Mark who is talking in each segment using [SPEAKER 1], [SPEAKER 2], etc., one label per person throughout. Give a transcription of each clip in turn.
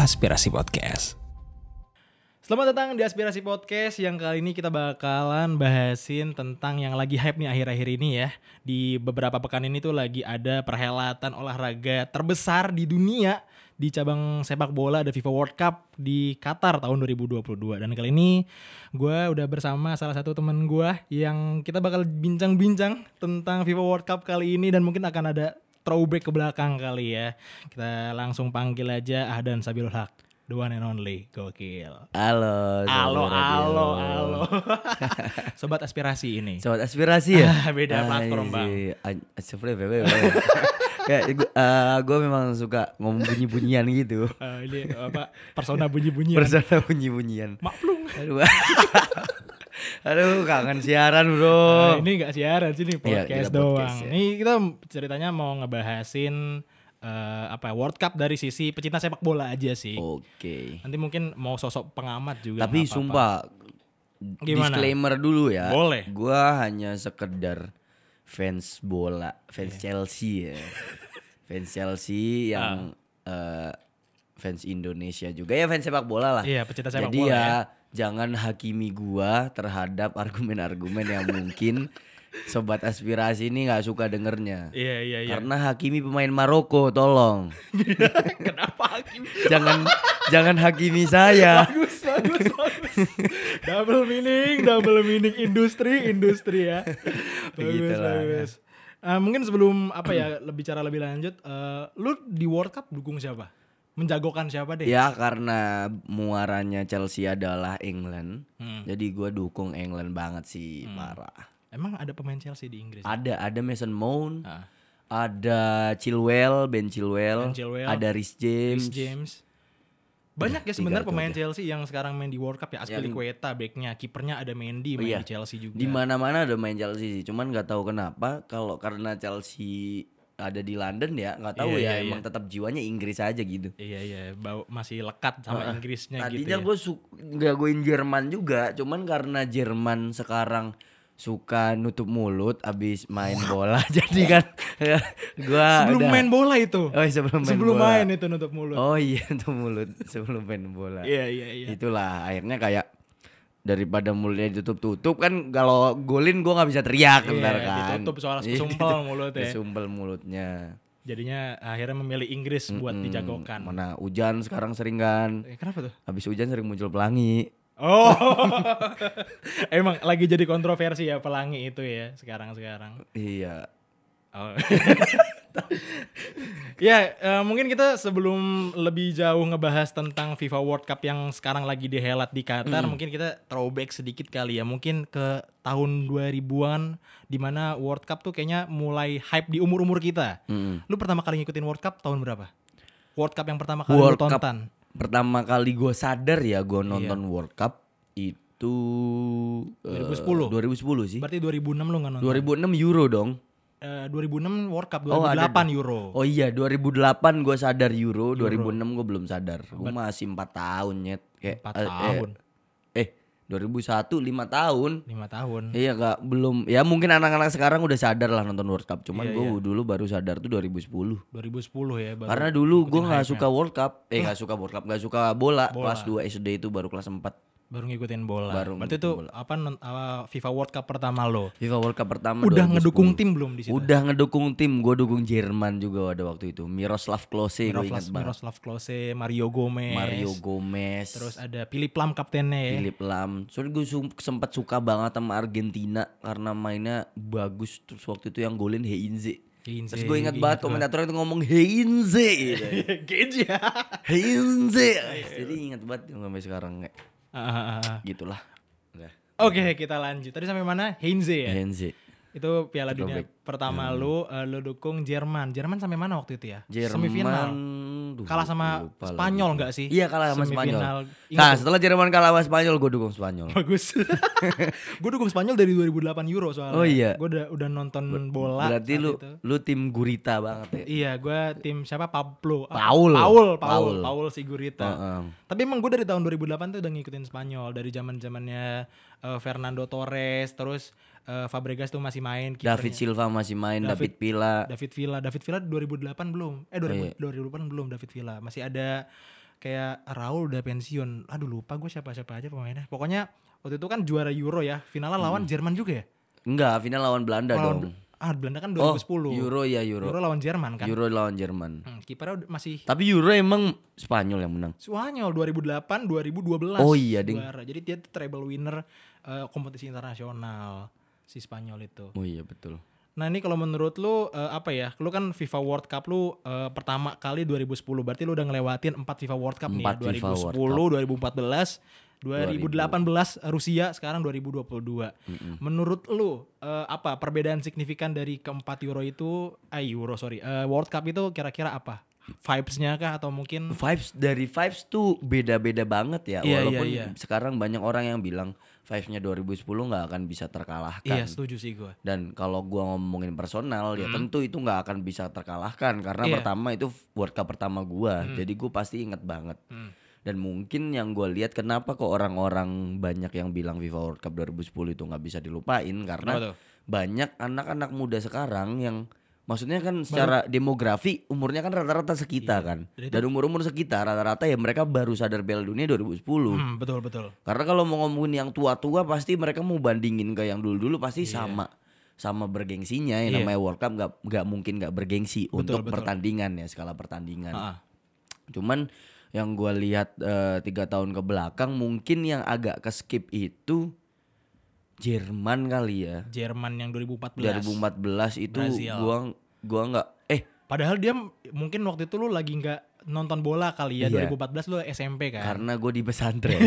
[SPEAKER 1] Aspirasi Podcast.
[SPEAKER 2] Selamat datang di Aspirasi Podcast yang kali ini kita bakalan bahasin tentang yang lagi hype nih akhir-akhir ini ya. Di beberapa pekan ini tuh lagi ada perhelatan olahraga terbesar di dunia di cabang sepak bola ada FIFA World Cup di Qatar tahun 2022 dan kali ini gue udah bersama salah satu temen gue yang kita bakal bincang-bincang tentang FIFA World Cup kali ini dan mungkin akan ada throwback ke belakang kali ya kita langsung panggil aja Ahdan Sabilul Haq the one and only gokil
[SPEAKER 3] Halo. Sobat
[SPEAKER 2] Alo,
[SPEAKER 3] Radio.
[SPEAKER 2] alo, alo. Sobat aspirasi ini.
[SPEAKER 3] Sobat aspirasi ya? iya,
[SPEAKER 2] Ah, beda platform, Bang.
[SPEAKER 3] Aspirasi, bebe, Kayak gue memang suka ngomong bunyi-bunyian gitu.
[SPEAKER 2] Eh, ini apa persona bunyi-bunyi.
[SPEAKER 3] Persona bunyi-bunyian.
[SPEAKER 2] Maklum.
[SPEAKER 3] Aduh. Aduh, kangen siaran, Bro.
[SPEAKER 2] Nah, ini gak siaran sini
[SPEAKER 3] Oh. Iya,
[SPEAKER 2] podcast
[SPEAKER 3] kita
[SPEAKER 2] doang.
[SPEAKER 3] podcast, ya.
[SPEAKER 2] Ini kita ceritanya mau ngebahasin eh, apa World Cup dari sisi pecinta sepak bola aja sih.
[SPEAKER 3] Oke.
[SPEAKER 2] Nanti mungkin mau sosok pengamat juga.
[SPEAKER 3] Oh. Tapi
[SPEAKER 2] nggak apa-apa.
[SPEAKER 3] sumpah
[SPEAKER 2] Gimana?
[SPEAKER 3] disclaimer dulu ya.
[SPEAKER 2] Boleh.
[SPEAKER 3] Gua hanya sekedar fans bola, fans
[SPEAKER 2] Iya.
[SPEAKER 3] Chelsea ya. fans Chelsea yang eh, fans Indonesia juga ya fans sepak bola lah.
[SPEAKER 2] Ah. Iya, pecinta sepak
[SPEAKER 3] Jadi
[SPEAKER 2] bola
[SPEAKER 3] ya,
[SPEAKER 2] ya.
[SPEAKER 3] jangan hakimi gua terhadap argumen-argumen yang mungkin sobat aspirasi ini nggak suka dengernya.
[SPEAKER 2] Iya, iya, iya.
[SPEAKER 3] Karena hakimi pemain Maroko, tolong.
[SPEAKER 2] Kenapa Hakim?
[SPEAKER 3] jangan jangan hakimi saya.
[SPEAKER 2] bagus bagus bagus double meaning double meaning industri industri ya bagus
[SPEAKER 3] Begitulah.
[SPEAKER 2] bagus Eh, mungkin sebelum apa ya lebih cara lebih lanjut eh, lu di World Cup dukung siapa menjagokan siapa deh
[SPEAKER 3] Ya karena muaranya Chelsea adalah England,
[SPEAKER 2] Hmm.
[SPEAKER 3] jadi gue dukung England banget sih parah.
[SPEAKER 2] emang ada pemain Chelsea di Inggris
[SPEAKER 3] Ada ada Mason Mount,
[SPEAKER 2] Ah.
[SPEAKER 3] ada Chilwell, Ben
[SPEAKER 2] Ben
[SPEAKER 3] Chilwell,
[SPEAKER 2] Chilwell,
[SPEAKER 3] ada Rhys James,
[SPEAKER 2] James,
[SPEAKER 3] Iya,
[SPEAKER 2] James. banyak ya sebenarnya pemain Chelsea yang sekarang main di World Cup ya Aspilicueta backnya kipernya ada Mendy main di Chelsea juga
[SPEAKER 3] Iya. di mana mana ada main Chelsea sih. Cuman nggak tahu kenapa kalau karena Chelsea ada di London ya nggak tahu
[SPEAKER 2] Iya,
[SPEAKER 3] ya
[SPEAKER 2] iya, iya.
[SPEAKER 3] emang tetap jiwanya Inggris aja gitu.
[SPEAKER 2] iya iya bau masih lekat sama Inggrisnya gitu
[SPEAKER 3] Tadinya
[SPEAKER 2] ya.
[SPEAKER 3] gue jagoin Jerman juga, cuman karena Jerman sekarang suka nutup mulut abis main bola, jadi kan gua
[SPEAKER 2] sebelum
[SPEAKER 3] udah-
[SPEAKER 2] main bola itu
[SPEAKER 3] oh sebelum main
[SPEAKER 2] sebelum
[SPEAKER 3] bola.
[SPEAKER 2] main itu nutup mulut
[SPEAKER 3] oh iya nutup mulut sebelum main bola.
[SPEAKER 2] Iya iya iya.
[SPEAKER 3] Itulah akhirnya kayak daripada mulutnya ditutup-tutup kan kalau golin gua nggak bisa teriak
[SPEAKER 2] Iya,
[SPEAKER 3] ntar kan.
[SPEAKER 2] ditutup soalnya
[SPEAKER 3] Iya,
[SPEAKER 2] kesumpel ya.
[SPEAKER 3] gitu.
[SPEAKER 2] mulutnya.
[SPEAKER 3] Kesumpel mulutnya.
[SPEAKER 2] Jadinya akhirnya memilih Inggris buat dijagokan.
[SPEAKER 3] Mana hujan sekarang sering kan.
[SPEAKER 2] Eh, kenapa tuh?
[SPEAKER 3] Habis hujan sering muncul pelangi.
[SPEAKER 2] Oh. Emang lagi jadi kontroversi ya pelangi itu ya sekarang-sekarang.
[SPEAKER 3] Iya.
[SPEAKER 2] Oh. ya, eh, mungkin kita sebelum lebih jauh ngebahas tentang FIFA World Cup yang sekarang lagi dihelat di Qatar, mungkin kita throwback sedikit kali ya. Mungkin ke tahun 2000-an di mana World Cup tuh kayaknya mulai hype di umur-umur kita. Lu pertama kali ngikutin World Cup tahun berapa? World Cup yang pertama kali
[SPEAKER 3] World
[SPEAKER 2] lu
[SPEAKER 3] Cup
[SPEAKER 2] tonton.
[SPEAKER 3] pertama kali gue sadar ya gue
[SPEAKER 2] Iya.
[SPEAKER 3] nonton World Cup itu eh,
[SPEAKER 2] 2010.
[SPEAKER 3] 2010 sih.
[SPEAKER 2] Berarti 2006 lu nggak nonton?
[SPEAKER 3] 2006 Euro dong.
[SPEAKER 2] Eh, 2006 World Cup, 2008
[SPEAKER 3] Oh, ada
[SPEAKER 2] Euro.
[SPEAKER 3] Oh iya 2008 gue sadar Euro, 2006 gue belum sadar. Gue masih 4 tahun nyet. Kayak,
[SPEAKER 2] Empat
[SPEAKER 3] eh, eh,
[SPEAKER 2] tahun.
[SPEAKER 3] Eh, 2001 5 tahun.
[SPEAKER 2] 5 tahun.
[SPEAKER 3] Iya gak belum ya mungkin anak-anak sekarang udah sadar lah nonton World Cup.
[SPEAKER 2] Iya,
[SPEAKER 3] Cuman gue dulu baru sadar tuh 2010.
[SPEAKER 2] 2010 ya baru.
[SPEAKER 3] Karena dulu gue nggak suka World Cup, eh nggak suka World Cup, nggak suka bola. Kelas 2 SD itu baru kelas 4
[SPEAKER 2] baru ngikutin bola.
[SPEAKER 3] Baru
[SPEAKER 2] Berarti itu apa non- apa, FIFA World Cup pertama lo.
[SPEAKER 3] FIFA World Cup pertama
[SPEAKER 2] Udah
[SPEAKER 3] 2010.
[SPEAKER 2] ngedukung tim belum di situ?
[SPEAKER 3] Udah ngedukung tim, gue dukung Jerman juga pada waktu itu. Miroslav Klose gue
[SPEAKER 2] Miroslav,
[SPEAKER 3] ingat banget.
[SPEAKER 2] Miroslav Klose, Mario Gomez.
[SPEAKER 3] Mario Gomez,
[SPEAKER 2] Terus ada Philip Lam kaptennya ya.
[SPEAKER 3] Philip Lam. Soalnya gue sempat suka banget sama Argentina karena mainnya bagus. Terus waktu itu yang golin Heinze.
[SPEAKER 2] Heinze,
[SPEAKER 3] Terus gue ingat banget komentatornya itu ngomong Heinze. gitu.
[SPEAKER 2] Gage ya.
[SPEAKER 3] Heinze.
[SPEAKER 2] Iya,
[SPEAKER 3] Jadi ingat banget sampai sekarang kayak
[SPEAKER 2] Ah, ah, ah, ah.
[SPEAKER 3] gitulah.
[SPEAKER 2] Iya.
[SPEAKER 3] Udah.
[SPEAKER 2] Oke, kita lanjut. Tadi sampai mana? Heinze ya.
[SPEAKER 3] Heinze.
[SPEAKER 2] Itu Piala Dunia pertama lu, eh, lu dukung Jerman. Jerman sampai mana waktu itu ya?
[SPEAKER 3] Ya. Jerman
[SPEAKER 2] Semifinal.
[SPEAKER 3] duh,
[SPEAKER 2] Kalah sama
[SPEAKER 3] lupa lagi.
[SPEAKER 2] Spanyol nggak sih?
[SPEAKER 3] Iya kalah sama
[SPEAKER 2] Semifinal.
[SPEAKER 3] Spanyol.
[SPEAKER 2] Ingat
[SPEAKER 3] Nah setelah Jerman kalah sama Spanyol gue dukung Spanyol.
[SPEAKER 2] Bagus. gue dukung Spanyol dari 2008 Euro soalnya.
[SPEAKER 3] Oh iya.
[SPEAKER 2] Gue udah, udah nonton bola.
[SPEAKER 3] Berarti
[SPEAKER 2] saat
[SPEAKER 3] lu
[SPEAKER 2] itu.
[SPEAKER 3] lu tim gurita banget ya.
[SPEAKER 2] Iya, gue tim siapa? Pablo. Ah,
[SPEAKER 3] Paul.
[SPEAKER 2] Paul, Paul,
[SPEAKER 3] Paul.
[SPEAKER 2] Paul Sigurita.
[SPEAKER 3] Heeh.
[SPEAKER 2] Tapi emang gue dari tahun 2008 tuh udah ngikutin Spanyol dari zaman-zamannya eh, Fernando Torres, terus eh, Fabregas tuh masih main. kipernya.
[SPEAKER 3] David Silva masih main, David, Villa. Iya.
[SPEAKER 2] David Villa, David Villa 2008 belum. Eh 2000 2008 belum David Villa. Masih ada kayak Raul udah pensiun. Aduh lupa gue siapa-siapa aja pemainnya. Pokoknya waktu itu kan juara Euro ya. Finalnya lawan
[SPEAKER 3] Hmm.
[SPEAKER 2] Jerman juga ya?
[SPEAKER 3] Enggak, final lawan Belanda
[SPEAKER 2] Lawan,
[SPEAKER 3] dong.
[SPEAKER 2] ah Belanda kan 2010.
[SPEAKER 3] Oh, Euro ya
[SPEAKER 2] Euro.
[SPEAKER 3] Euro. Euro,
[SPEAKER 2] lawan Jerman kan.
[SPEAKER 3] lawan Jerman.
[SPEAKER 2] Hmm, kipernya udah- masih
[SPEAKER 3] Tapi Euro emang Spanyol yang menang.
[SPEAKER 2] Spanyol 2008 2012.
[SPEAKER 3] Oh iya, Ding.
[SPEAKER 2] juara. Jadi dia tuh treble winner eh, kompetisi internasional si Spanyol itu.
[SPEAKER 3] Oh iya betul.
[SPEAKER 2] Nah ini kalau menurut lu eh, apa ya? Lu kan FIFA World Cup lu eh, pertama kali 2010. Berarti lu udah ngelewatin 4 FIFA World Cup nih.
[SPEAKER 3] Empat
[SPEAKER 2] ya.
[SPEAKER 3] FIFA World
[SPEAKER 2] 2010, 2014, 2018 eh, Rusia, sekarang 2022. Menurut lu eh, apa perbedaan signifikan dari keempat Euro itu? Eh Euro sorry. Eh, World Cup itu kira-kira apa? Vibes-nya kah atau mungkin
[SPEAKER 3] Vibes dari vibes tuh beda-beda banget
[SPEAKER 2] Iya,
[SPEAKER 3] ya.
[SPEAKER 2] iya,
[SPEAKER 3] Walaupun
[SPEAKER 2] iya.
[SPEAKER 3] sekarang banyak orang yang bilang vibesnya 2010 nggak akan bisa terkalahkan.
[SPEAKER 2] Iya setuju sih gue.
[SPEAKER 3] Dan kalau gua ngomongin personal ya tentu itu nggak akan bisa terkalahkan karena
[SPEAKER 2] Hmm. Iya.
[SPEAKER 3] pertama itu World Cup pertama gua. Jadi gua pasti inget banget.
[SPEAKER 2] Hmm.
[SPEAKER 3] Dan mungkin yang gua lihat kenapa kok orang-orang banyak yang bilang FIFA World Cup 2010 itu nggak bisa dilupain
[SPEAKER 2] Kenapa
[SPEAKER 3] karena
[SPEAKER 2] tuh?
[SPEAKER 3] banyak anak-anak muda sekarang yang maksudnya kan secara demografi umurnya kan rata-rata sekitar kan.
[SPEAKER 2] Dan itu-
[SPEAKER 3] Dan umur-umur sekitar rata-rata ya mereka baru sadar Piala Dunia 2010.
[SPEAKER 2] Hmm, betul betul.
[SPEAKER 3] Karena kalau mau ngomongin yang tua-tua pasti mereka mau bandingin ke yang dulu-dulu pasti sama sama bergengsinya yang
[SPEAKER 2] Iya.
[SPEAKER 3] namanya World Cup nggak nggak mungkin nggak bergengsi untuk
[SPEAKER 2] betul.
[SPEAKER 3] pertandingan ya skala pertandingan.
[SPEAKER 2] Ah, ah.
[SPEAKER 3] Cuman yang gua lihat eh, tiga tahun ke belakang mungkin yang agak ke skip itu Jerman kali ya
[SPEAKER 2] Jerman yang 2014.
[SPEAKER 3] 2014 itu
[SPEAKER 2] Brazil.
[SPEAKER 3] gua gua nggak eh
[SPEAKER 2] Padahal dia m- mungkin waktu itu lu lagi nggak nonton bola kali ya
[SPEAKER 3] Iya.
[SPEAKER 2] 2014 lu SMP kan.
[SPEAKER 3] karena Iya. gue di pesantren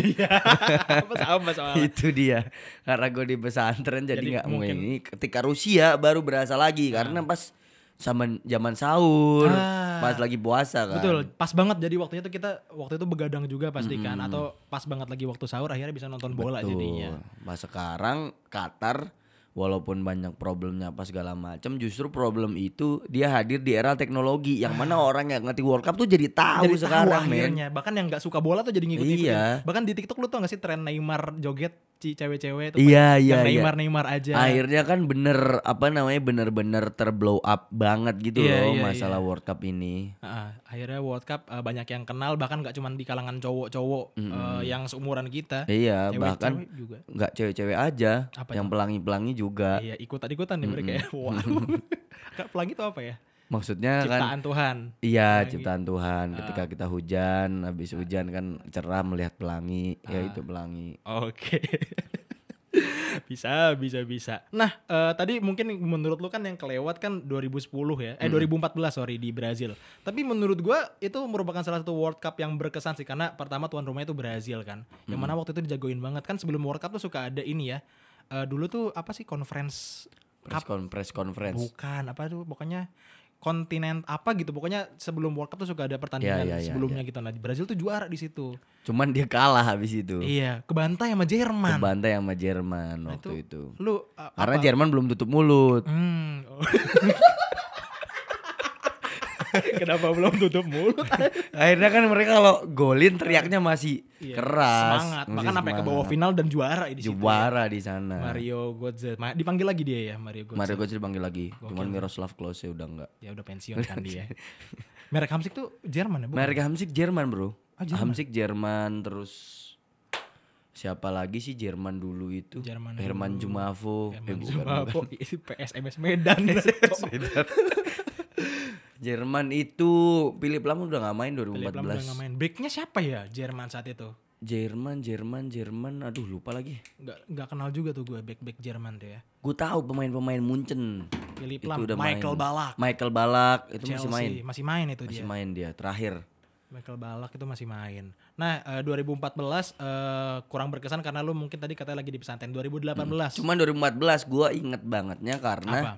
[SPEAKER 2] Apa sama soalnya.
[SPEAKER 3] itu dia karena gue di pesantren jadi
[SPEAKER 2] Jadi
[SPEAKER 3] nggak
[SPEAKER 2] mungkin-
[SPEAKER 3] mungkin ini ketika Rusia baru berasa lagi karena pas zaman zaman sahur
[SPEAKER 2] Ah.
[SPEAKER 3] pas lagi puasa kan
[SPEAKER 2] Betul, pas banget jadi waktunya tuh kita waktu itu begadang juga pasti kan atau pas banget lagi waktu sahur akhirnya bisa nonton bola
[SPEAKER 3] Tuh,
[SPEAKER 2] jadinya.
[SPEAKER 3] pas sekarang Qatar walaupun banyak problemnya apa segala macam justru problem itu dia hadir di era teknologi yang mana orang yang ngerti World Cup tuh jadi tahu
[SPEAKER 2] Ah. Jadi tahu
[SPEAKER 3] sekarang men
[SPEAKER 2] akhirnya, bahkan yang nggak suka bola tuh jadi ngikutin. gitu.
[SPEAKER 3] Iya.
[SPEAKER 2] Bahkan di TikTok lu tau gak sih tren Neymar joget ci cewek-cewek tuh
[SPEAKER 3] Iya, iya,
[SPEAKER 2] yang
[SPEAKER 3] iya.
[SPEAKER 2] Neymar Neymar aja.
[SPEAKER 3] Akhirnya kan bener apa namanya bener-bener terblow up banget gitu
[SPEAKER 2] Iya,
[SPEAKER 3] loh
[SPEAKER 2] iya,
[SPEAKER 3] masalah World Cup ini.
[SPEAKER 2] Ah, akhirnya World Cup eh, banyak yang kenal bahkan nggak cuma di kalangan cowok-cowok eh, yang seumuran kita.
[SPEAKER 3] Iya,
[SPEAKER 2] Cewek-cewek
[SPEAKER 3] bahkan
[SPEAKER 2] juga.
[SPEAKER 3] nggak cewek-cewek aja,
[SPEAKER 2] Apa
[SPEAKER 3] yang pelangi-pelangi juga.
[SPEAKER 2] Iya, ikutan-ikutan nih mereka ya. Wow. Kak, pelangi itu apa ya?
[SPEAKER 3] Maksudnya kan
[SPEAKER 2] Ciptaan gitu ya. Tuhan.
[SPEAKER 3] iya ciptaan Tuhan.
[SPEAKER 2] Ah.
[SPEAKER 3] Ketika kita hujan, habis hujan kan cerah melihat pelangi,
[SPEAKER 2] Ah.
[SPEAKER 3] ya itu pelangi.
[SPEAKER 2] Oke. bisa, bisa, bisa. Nah, eh, tadi mungkin menurut lu kan yang kelewat kan 2010 ya. Eh 2014 sorry di Brazil. Tapi menurut gua itu merupakan salah satu World Cup yang berkesan sih karena pertama tuan rumahnya itu Brazil kan. Yang mana waktu itu dijagoin banget kan sebelum World Cup tuh suka ada ini ya. Eh, dulu tuh apa sih conference
[SPEAKER 3] Press con- press conference.
[SPEAKER 2] Bukan apa tuh pokoknya kontinen apa gitu pokoknya sebelum World Cup tuh suka ada pertandingan
[SPEAKER 3] Ya, ya, ya,
[SPEAKER 2] sebelumnya gitu nah Brazil tuh juara di situ
[SPEAKER 3] Cuman dia kalah habis itu.
[SPEAKER 2] iya Nah, kebantai sama Jerman
[SPEAKER 3] Kebantai sama Jerman waktu itu.
[SPEAKER 2] lu uh,
[SPEAKER 3] Karena Jerman belum tutup mulut.
[SPEAKER 2] hmm. Oh. kenapa belum tutup mulut
[SPEAKER 3] Akhirnya kan mereka kalau golin teriaknya masih keras.
[SPEAKER 2] Iya, semangat
[SPEAKER 3] masih
[SPEAKER 2] bahkan sampai ke
[SPEAKER 3] semangat.
[SPEAKER 2] bawah ya. final dan juara di situ
[SPEAKER 3] Juara di sana.
[SPEAKER 2] Mario Götze Ma- dipanggil lagi dia ya Mario Götze
[SPEAKER 3] Mario Götze dipanggil lagi. Cuman Miroslav Klose udah enggak.
[SPEAKER 2] ya udah pensiun kan dia merek Hamsik tuh Jerman ya bukan?
[SPEAKER 3] Mereka Hamsik Jerman
[SPEAKER 2] Oh,
[SPEAKER 3] bro Hamsik Jerman terus siapa lagi sih Jerman dulu itu
[SPEAKER 2] Jerman
[SPEAKER 3] Herman Jumafo Eh, bukan, bukan.
[SPEAKER 2] Apa? PSMS Medan
[SPEAKER 3] Jerman itu Philip Lahm udah nggak main
[SPEAKER 2] Philip Lahm udah
[SPEAKER 3] 2014
[SPEAKER 2] nggak main. Backnya siapa ya Jerman saat itu?
[SPEAKER 3] Jerman Jerman Jerman aduh lupa lagi
[SPEAKER 2] Nggak nggak kenal juga tuh gue back back Jerman tuh ya.
[SPEAKER 3] gue tahu pemain-pemain Munchen
[SPEAKER 2] Philip
[SPEAKER 3] Itu
[SPEAKER 2] Lahm,
[SPEAKER 3] udah
[SPEAKER 2] Michael
[SPEAKER 3] main.
[SPEAKER 2] Balak,
[SPEAKER 3] Michael Balak itu
[SPEAKER 2] Chelsea Iya.
[SPEAKER 3] masih main
[SPEAKER 2] masih main itu
[SPEAKER 3] masih
[SPEAKER 2] dia.
[SPEAKER 3] main dia terakhir
[SPEAKER 2] Michael Balak itu masih main. Nah eh, 2014 eh, kurang berkesan karena lu mungkin tadi katanya lagi di pesantren 2018.
[SPEAKER 3] cuman 2014 gue inget bangetnya karena
[SPEAKER 2] Apa?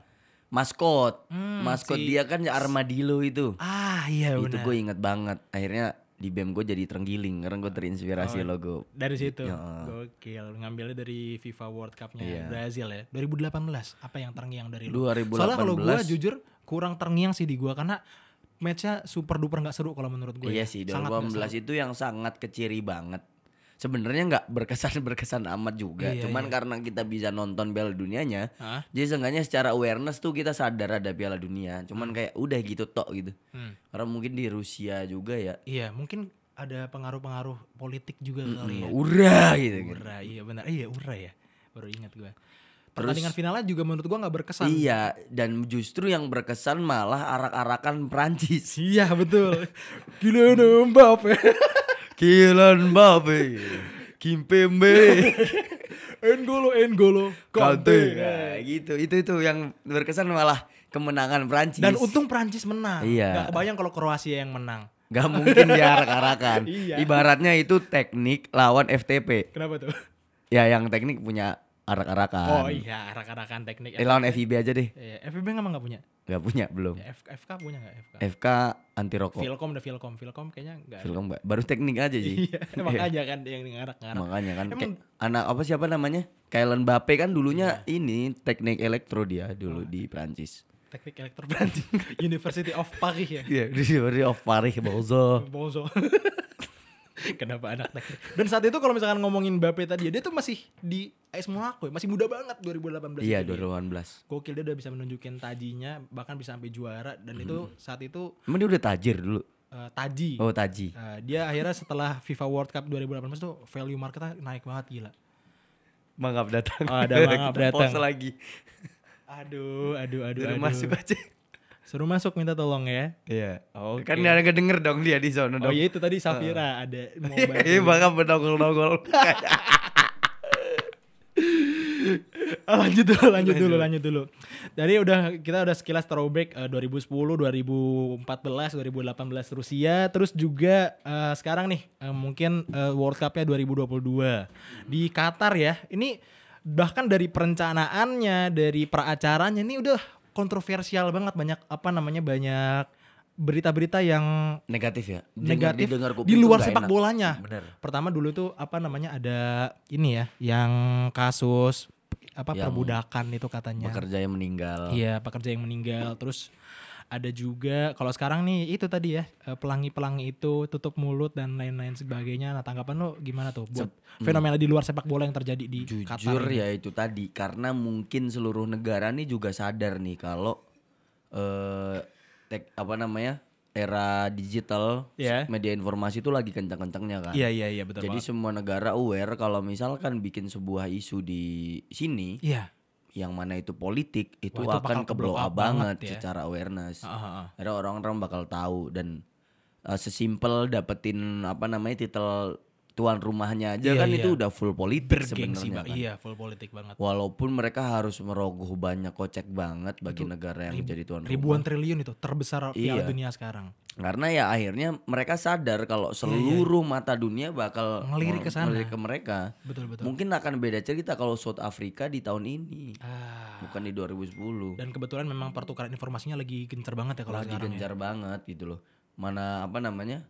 [SPEAKER 3] maskot
[SPEAKER 2] Hmm,
[SPEAKER 3] maskot
[SPEAKER 2] si-
[SPEAKER 3] dia kan armadillo itu
[SPEAKER 2] Ah iya
[SPEAKER 3] itu
[SPEAKER 2] benar.
[SPEAKER 3] gue inget banget akhirnya di BEM gue jadi terenggiling karena gue
[SPEAKER 2] Oh,
[SPEAKER 3] terinspirasi
[SPEAKER 2] iya.
[SPEAKER 3] logo
[SPEAKER 2] Dari situ.
[SPEAKER 3] Iya.
[SPEAKER 2] Gokil ngambilnya dari FIFA World Cup-nya Brazil ya. 2018 apa yang terngiang dari lu? Soalnya kalau gue
[SPEAKER 3] 2018
[SPEAKER 2] jujur kurang terngiang sih di gue karena matchnya super duper nggak seru kalau menurut ya. gue.
[SPEAKER 3] iya sih 2018 itu yang sangat keciri banget sebenarnya nggak berkesan berkesan amat juga cuman karena kita bisa nonton Piala Dunianya
[SPEAKER 2] Iya, Hah?
[SPEAKER 3] jadi seenggaknya secara awareness tuh kita sadar ada Piala Dunia cuman kayak udah gitu tok gitu
[SPEAKER 2] Hmm.
[SPEAKER 3] karena mungkin di Rusia juga ya
[SPEAKER 2] Iya, mungkin ada pengaruh-pengaruh politik juga kali ya.
[SPEAKER 3] Mm, Ura gitu kan.
[SPEAKER 2] Ura, iya benar. Iya, Ura ya. Baru ingat gua. Pertandingan finalnya juga menurut gua nggak berkesan.
[SPEAKER 3] Iya, dan justru yang berkesan malah arak-arakan Prancis.
[SPEAKER 2] Iya, betul. Gila Mbappe.
[SPEAKER 3] Kylian Mbappe, Kimpembe,
[SPEAKER 2] Engolo, Engolo,
[SPEAKER 3] Kante. Nah, gitu. Itu itu yang berkesan malah kemenangan Prancis.
[SPEAKER 2] Dan untung Prancis menang.
[SPEAKER 3] Iya.
[SPEAKER 2] Nggak kebayang kalau Kroasia yang menang.
[SPEAKER 3] Gak mungkin diarak-arakan.
[SPEAKER 2] Iya.
[SPEAKER 3] Ibaratnya itu teknik lawan FTP.
[SPEAKER 2] Kenapa tuh?
[SPEAKER 3] Ya yang teknik punya arak-arakan.
[SPEAKER 2] Oh iya, arak-arakan teknik.
[SPEAKER 3] Eh, lawan FIB aja deh.
[SPEAKER 2] Iya, FIB emang nggak punya?
[SPEAKER 3] Gak punya belum.
[SPEAKER 2] Ya, F- FK punya nggak FK?
[SPEAKER 3] FK anti rokok.
[SPEAKER 2] Vilkom udah Vilkom, Vilkom kayaknya nggak. ada.
[SPEAKER 3] Film Mbak. Baru teknik aja sih.
[SPEAKER 2] Iya, makanya kan yang ngarak-ngarak.
[SPEAKER 3] Makanya kan
[SPEAKER 2] Emang-
[SPEAKER 3] kayak anak apa siapa namanya? Kylian Mbappe kan dulunya
[SPEAKER 2] Iya.
[SPEAKER 3] ini teknik elektro dia dulu di Prancis.
[SPEAKER 2] Teknik elektro Prancis, University of Paris ya.
[SPEAKER 3] Iya, di dari of Paris Bozo.
[SPEAKER 2] Bozo. Kenapa anak teknik? Dan saat itu kalau misalkan ngomongin Mbappe tadi, ya, dia tuh masih di AS Monaco, ya, masih muda banget 2018.
[SPEAKER 3] Iya,
[SPEAKER 2] itu dia.
[SPEAKER 3] 2018.
[SPEAKER 2] Gokil dia udah bisa menunjukin tajinya, bahkan bisa sampai juara dan itu saat itu
[SPEAKER 3] Emang dia udah tajir dulu.
[SPEAKER 2] eh, taji.
[SPEAKER 3] Hmm. Oh, taji.
[SPEAKER 2] Eh, dia akhirnya setelah FIFA World Cup 2018 tuh value marketnya naik banget gila.
[SPEAKER 3] Mangap datang.
[SPEAKER 2] Oh, ada Mangap
[SPEAKER 3] Kita pause
[SPEAKER 2] datang.
[SPEAKER 3] lagi.
[SPEAKER 2] Aduh, aduh, aduh.
[SPEAKER 3] Suruh
[SPEAKER 2] aduh.
[SPEAKER 3] masuk aja.
[SPEAKER 2] Suruh masuk minta tolong ya.
[SPEAKER 3] Iya.
[SPEAKER 2] Oke.
[SPEAKER 3] Kan ada kedenger dong dia di sana
[SPEAKER 2] Oh
[SPEAKER 3] dong.
[SPEAKER 2] iya itu tadi Safira ada mau bantu.
[SPEAKER 3] Eh. Iya, bakal berdongol-dongol.
[SPEAKER 2] Ah, lanjut dulu, lanjut dulu, lanjut dulu. Jadi udah kita udah sekilas throwback eh, 2010, 2014, 2018 Rusia, terus juga eh, sekarang nih eh, mungkin eh, World Cup-nya 2022 di Qatar ya. Ini bahkan dari perencanaannya, dari peracaranya ini udah kontroversial banget banyak apa namanya banyak berita-berita yang
[SPEAKER 3] Negatif ya. Dengar-
[SPEAKER 2] negatif
[SPEAKER 3] didengar kuping
[SPEAKER 2] di
[SPEAKER 3] tuh
[SPEAKER 2] luar
[SPEAKER 3] nggak
[SPEAKER 2] sepak
[SPEAKER 3] enak.
[SPEAKER 2] bolanya. Iya.
[SPEAKER 3] Bener.
[SPEAKER 2] Pertama dulu tuh apa namanya ada ini ya yang kasus apa
[SPEAKER 3] Yang
[SPEAKER 2] perbudakan itu katanya.
[SPEAKER 3] Pekerja yang meninggal.
[SPEAKER 2] Iya, pekerja yang meninggal. Terus ada juga kalau sekarang nih itu tadi ya eh, pelangi-pelangi itu tutup mulut dan lain-lain sebagainya. Nah, tanggapan lo gimana tuh buat fenomena di luar sepak bola yang terjadi di
[SPEAKER 3] hmm.
[SPEAKER 2] Qatar?
[SPEAKER 3] Jujur
[SPEAKER 2] ini?
[SPEAKER 3] ya itu tadi karena mungkin seluruh negara nih juga sadar nih kalau eh tek- apa namanya era digital
[SPEAKER 2] Iya.
[SPEAKER 3] media informasi itu lagi kencang-kencangnya kan.
[SPEAKER 2] Iya, iya, iya betul.
[SPEAKER 3] Jadi
[SPEAKER 2] banget.
[SPEAKER 3] semua negara aware kalau misalkan bikin sebuah isu di sini
[SPEAKER 2] iya.
[SPEAKER 3] yang mana itu politik itu,
[SPEAKER 2] Wah, itu bakal
[SPEAKER 3] akan ke blow up banget
[SPEAKER 2] ya.
[SPEAKER 3] secara awareness.
[SPEAKER 2] Ah, ah, ah.
[SPEAKER 3] Akhirnya orang-orang bakal tahu dan eh, sesimpel dapetin apa namanya titel tuan rumahnya aja
[SPEAKER 2] Iya,
[SPEAKER 3] kan
[SPEAKER 2] iya.
[SPEAKER 3] itu udah full politik
[SPEAKER 2] Bergengsi
[SPEAKER 3] sebenarnya.
[SPEAKER 2] banget.
[SPEAKER 3] kan.
[SPEAKER 2] Iya, full politik banget.
[SPEAKER 3] Walaupun mereka harus merogoh banyak kocek banget bagi negara yang jadi tuan
[SPEAKER 2] Ribuan
[SPEAKER 3] rumah.
[SPEAKER 2] triliun itu terbesar Piala
[SPEAKER 3] Iya.
[SPEAKER 2] Dunia sekarang.
[SPEAKER 3] Karena ya akhirnya mereka sadar kalau seluruh mata dunia
[SPEAKER 2] Iya,
[SPEAKER 3] bakal
[SPEAKER 2] Ngelirik ke sana.
[SPEAKER 3] ngelirik ke mereka.
[SPEAKER 2] Betul, betul.
[SPEAKER 3] Mungkin akan beda cerita kalau South Africa di tahun ini,
[SPEAKER 2] Ah.
[SPEAKER 3] bukan di 2010.
[SPEAKER 2] Dan kebetulan memang pertukaran informasinya lagi gencar banget ya Iya, kalau
[SPEAKER 3] Lagi
[SPEAKER 2] sekarang.
[SPEAKER 3] gencar banget gitu loh. Mana apa namanya?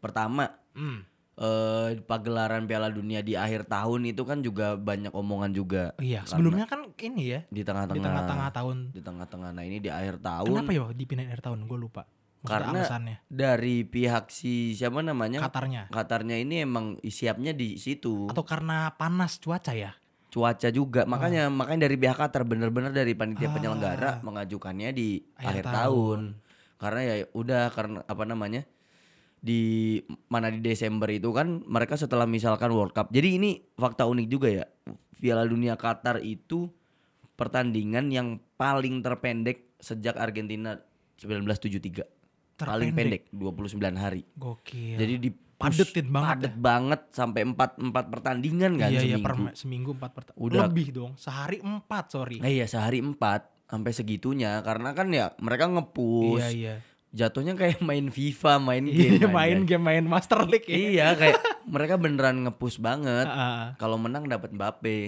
[SPEAKER 3] Pertama
[SPEAKER 2] Hmm.
[SPEAKER 3] eh pagelaran Piala Dunia di akhir tahun itu kan juga banyak omongan juga
[SPEAKER 2] Iya, sebelumnya kan ini ya di
[SPEAKER 3] di
[SPEAKER 2] tengah-tengah tahun.
[SPEAKER 3] di tengah-tengah. Nah ini di akhir tahun
[SPEAKER 2] Kenapa ya dipindahin akhir tahun? Gue lupa. Maksudnya
[SPEAKER 3] Karena
[SPEAKER 2] alasannya,
[SPEAKER 3] dari pihak si siapa namanya
[SPEAKER 2] Katarnya
[SPEAKER 3] Katarnya ini emang siapnya di situ
[SPEAKER 2] atau karena panas cuaca ya?
[SPEAKER 3] cuaca juga makanya makanya dari pihak Qatar bener-bener dari panitia penyelenggara mengajukannya di
[SPEAKER 2] Akhir
[SPEAKER 3] Ah. akhir, tahun. karena ya udah karena apa namanya di mana di Desember itu kan mereka setelah misalkan World Cup jadi ini fakta unik juga ya Piala Dunia Qatar itu pertandingan yang paling terpendek sejak Argentina 1973 paling pendek 29 hari
[SPEAKER 2] Gokil.
[SPEAKER 3] jadi di
[SPEAKER 2] Padetin banget
[SPEAKER 3] padet banget sampai empat empat pertandingan kan
[SPEAKER 2] iya, iya,
[SPEAKER 3] seminggu.
[SPEAKER 2] per seminggu empat pertandingan.
[SPEAKER 3] Udah.
[SPEAKER 2] Lebih dong, sehari empat sorry.
[SPEAKER 3] Nah, iya sehari empat sampai segitunya karena kan ya mereka ngepush
[SPEAKER 2] iya iya.
[SPEAKER 3] jatuhnya kayak main FIFA main game
[SPEAKER 2] Iya
[SPEAKER 3] aja.
[SPEAKER 2] main game main Master League ya.
[SPEAKER 3] iya kayak mereka beneran ngepush banget
[SPEAKER 2] Ah, ah.
[SPEAKER 3] kalau menang dapat Mbappe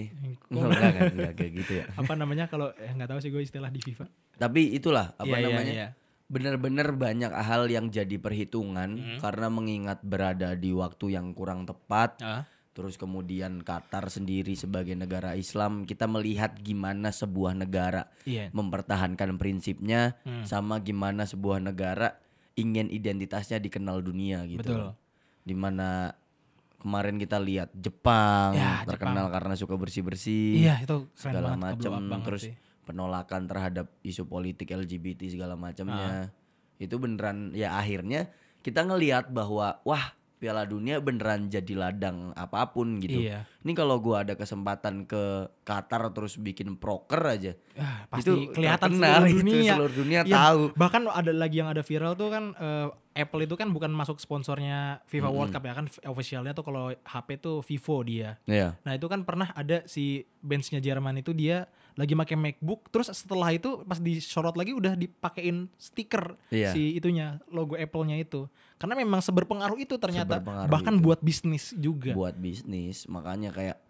[SPEAKER 2] Kok-
[SPEAKER 3] enggak kan enggak kayak gitu ya
[SPEAKER 2] apa namanya kalau eh, nggak tahu sih gue istilah di FIFA.
[SPEAKER 3] tapi itulah apa
[SPEAKER 2] Iya, iya,
[SPEAKER 3] namanya
[SPEAKER 2] iya.
[SPEAKER 3] bener-bener banyak hal yang jadi
[SPEAKER 2] Hmm.
[SPEAKER 3] perhitungan karena mengingat berada di waktu yang kurang tepat
[SPEAKER 2] Ah.
[SPEAKER 3] Terus kemudian Qatar sendiri sebagai negara Islam kita melihat gimana sebuah negara
[SPEAKER 2] Iya.
[SPEAKER 3] mempertahankan prinsipnya
[SPEAKER 2] Hmm.
[SPEAKER 3] sama gimana sebuah negara ingin identitasnya dikenal dunia gitu.
[SPEAKER 2] Betul.
[SPEAKER 3] Dimana kemarin kita lihat Jepang
[SPEAKER 2] Ya,
[SPEAKER 3] terkenal karena suka bersih-bersih
[SPEAKER 2] Iya, itu keren
[SPEAKER 3] segala
[SPEAKER 2] banget,
[SPEAKER 3] macam
[SPEAKER 2] ke-blow up banget
[SPEAKER 3] terus
[SPEAKER 2] sih.
[SPEAKER 3] penolakan terhadap isu politik
[SPEAKER 2] Ah.
[SPEAKER 3] LGBT segala macamnya. Itu beneran ya akhirnya kita ngelihat bahwa wah Piala Dunia beneran jadi ladang apapun gitu.
[SPEAKER 2] Iya.
[SPEAKER 3] Ini kalau gua ada kesempatan ke Qatar terus bikin proker aja.
[SPEAKER 2] Ah, pasti
[SPEAKER 3] itu
[SPEAKER 2] kelihatan
[SPEAKER 3] terkenal
[SPEAKER 2] seluruh
[SPEAKER 3] gitu,
[SPEAKER 2] dunia.
[SPEAKER 3] seluruh dunia
[SPEAKER 2] Iya,
[SPEAKER 3] tahu.
[SPEAKER 2] Bahkan ada lagi yang ada viral tuh kan eh, Apple itu kan bukan masuk sponsornya FIFA World Cup ya kan f- officialnya tuh kalau HP tuh Vivo dia.
[SPEAKER 3] Iya.
[SPEAKER 2] Nah, itu kan pernah ada si benchnya Jerman itu dia lagi pakai MacBook terus setelah itu pas disorot lagi udah dipakein stiker
[SPEAKER 3] Iya.
[SPEAKER 2] si itunya logo Apple-nya itu. Karena memang seberpengaruh itu ternyata
[SPEAKER 3] Seberpengaruh
[SPEAKER 2] bahkan
[SPEAKER 3] itu.
[SPEAKER 2] buat bisnis juga.
[SPEAKER 3] buat bisnis makanya kayak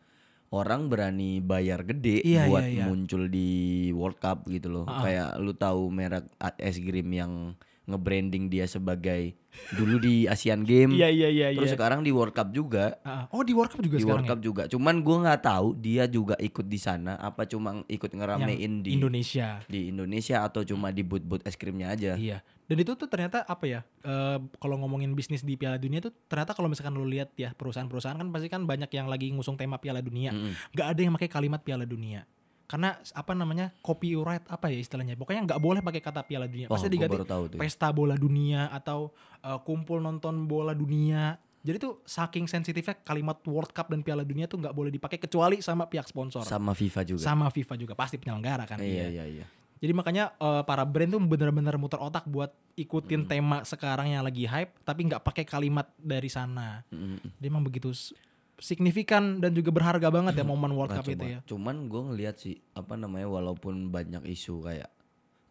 [SPEAKER 3] orang berani bayar gede
[SPEAKER 2] Iya,
[SPEAKER 3] buat
[SPEAKER 2] iya, iya.
[SPEAKER 3] muncul di World Cup gitu loh kayak lu tahu merek a- es krim yang nge-branding dia sebagai dulu di Asian Games
[SPEAKER 2] Iya iya iya
[SPEAKER 3] terus
[SPEAKER 2] iya.
[SPEAKER 3] sekarang di World Cup juga
[SPEAKER 2] Ah, Oh, di World Cup juga
[SPEAKER 3] di
[SPEAKER 2] sekarang.
[SPEAKER 3] World Cup juga cuman gua nggak tahu dia juga ikut di sana apa cuma ikut
[SPEAKER 2] ya? Yang
[SPEAKER 3] ngeramein di
[SPEAKER 2] Indonesia.
[SPEAKER 3] di Indonesia atau cuma di boot-boot es krimnya aja
[SPEAKER 2] Iya. Dan itu tuh ternyata apa ya? eh, kalau ngomongin bisnis di Piala Dunia tuh ternyata kalau misalkan lu lihat ya perusahaan-perusahaan kan pasti kan banyak yang lagi ngusung tema Piala Dunia.
[SPEAKER 3] Mm-mm.
[SPEAKER 2] Gak ada yang pakai kalimat Piala Dunia. Karena s- apa namanya copyright apa ya istilahnya? Pokoknya nggak boleh pakai kata Piala Dunia.
[SPEAKER 3] Wah,
[SPEAKER 2] Pasti
[SPEAKER 3] Oh, gua
[SPEAKER 2] Ya, diganti
[SPEAKER 3] baru tahu tuh
[SPEAKER 2] pesta bola dunia atau eh, kumpul nonton bola dunia. Jadi tuh saking sensitifnya kalimat World Cup dan Piala Dunia tuh nggak boleh dipakai kecuali sama pihak sponsor. Sama,
[SPEAKER 3] sama FIFA juga
[SPEAKER 2] FIFA juga pasti penyelenggara kan. dia.
[SPEAKER 3] iya iya iya
[SPEAKER 2] Jadi makanya eh, para brand tuh bener-bener muter otak buat ikutin
[SPEAKER 3] Hmm.
[SPEAKER 2] tema sekarang yang lagi hype, tapi nggak pakai kalimat dari sana.
[SPEAKER 3] Mm-mm.
[SPEAKER 2] Dia emang begitu s- signifikan dan juga berharga banget ya momen World
[SPEAKER 3] Nah,
[SPEAKER 2] Cup itu
[SPEAKER 3] cuma-
[SPEAKER 2] ya.
[SPEAKER 3] Cuman gue ngelihat sih apa namanya walaupun banyak isu kayak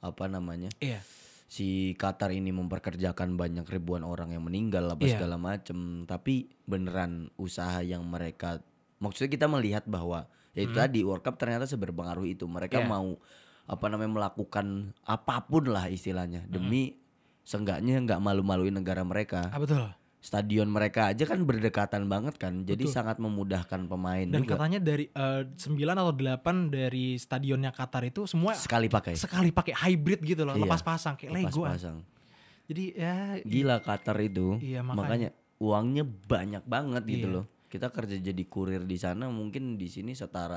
[SPEAKER 3] apa namanya
[SPEAKER 2] Iya.
[SPEAKER 3] si Qatar ini memperkerjakan banyak ribuan orang yang meninggal apa
[SPEAKER 2] Iya.
[SPEAKER 3] segala macem tapi beneran usaha yang mereka maksudnya kita melihat bahwa ya itu tadi World Cup ternyata seberpengaruh itu mereka
[SPEAKER 2] Hmm. Iya.
[SPEAKER 3] mau apa namanya melakukan apapun lah istilahnya
[SPEAKER 2] Hmm.
[SPEAKER 3] demi seenggaknya nggak malu-maluin negara mereka
[SPEAKER 2] Ah, betul.
[SPEAKER 3] stadion mereka aja kan berdekatan banget kan jadi
[SPEAKER 2] Betul.
[SPEAKER 3] sangat memudahkan pemain
[SPEAKER 2] Dan
[SPEAKER 3] juga
[SPEAKER 2] katanya dari eh, 9 atau 8 dari stadionnya Qatar itu semua
[SPEAKER 3] sekali pakai
[SPEAKER 2] sekali pakai hybrid gitu loh,
[SPEAKER 3] Iya.
[SPEAKER 2] lepas pasang kayak
[SPEAKER 3] lepas
[SPEAKER 2] Lego. ah.
[SPEAKER 3] pasang
[SPEAKER 2] Jadi ya
[SPEAKER 3] gila Qatar itu
[SPEAKER 2] Iya, makanya.
[SPEAKER 3] makanya. uangnya banyak banget gitu
[SPEAKER 2] Iya.
[SPEAKER 3] loh kita kerja jadi kurir di sana mungkin di sini setara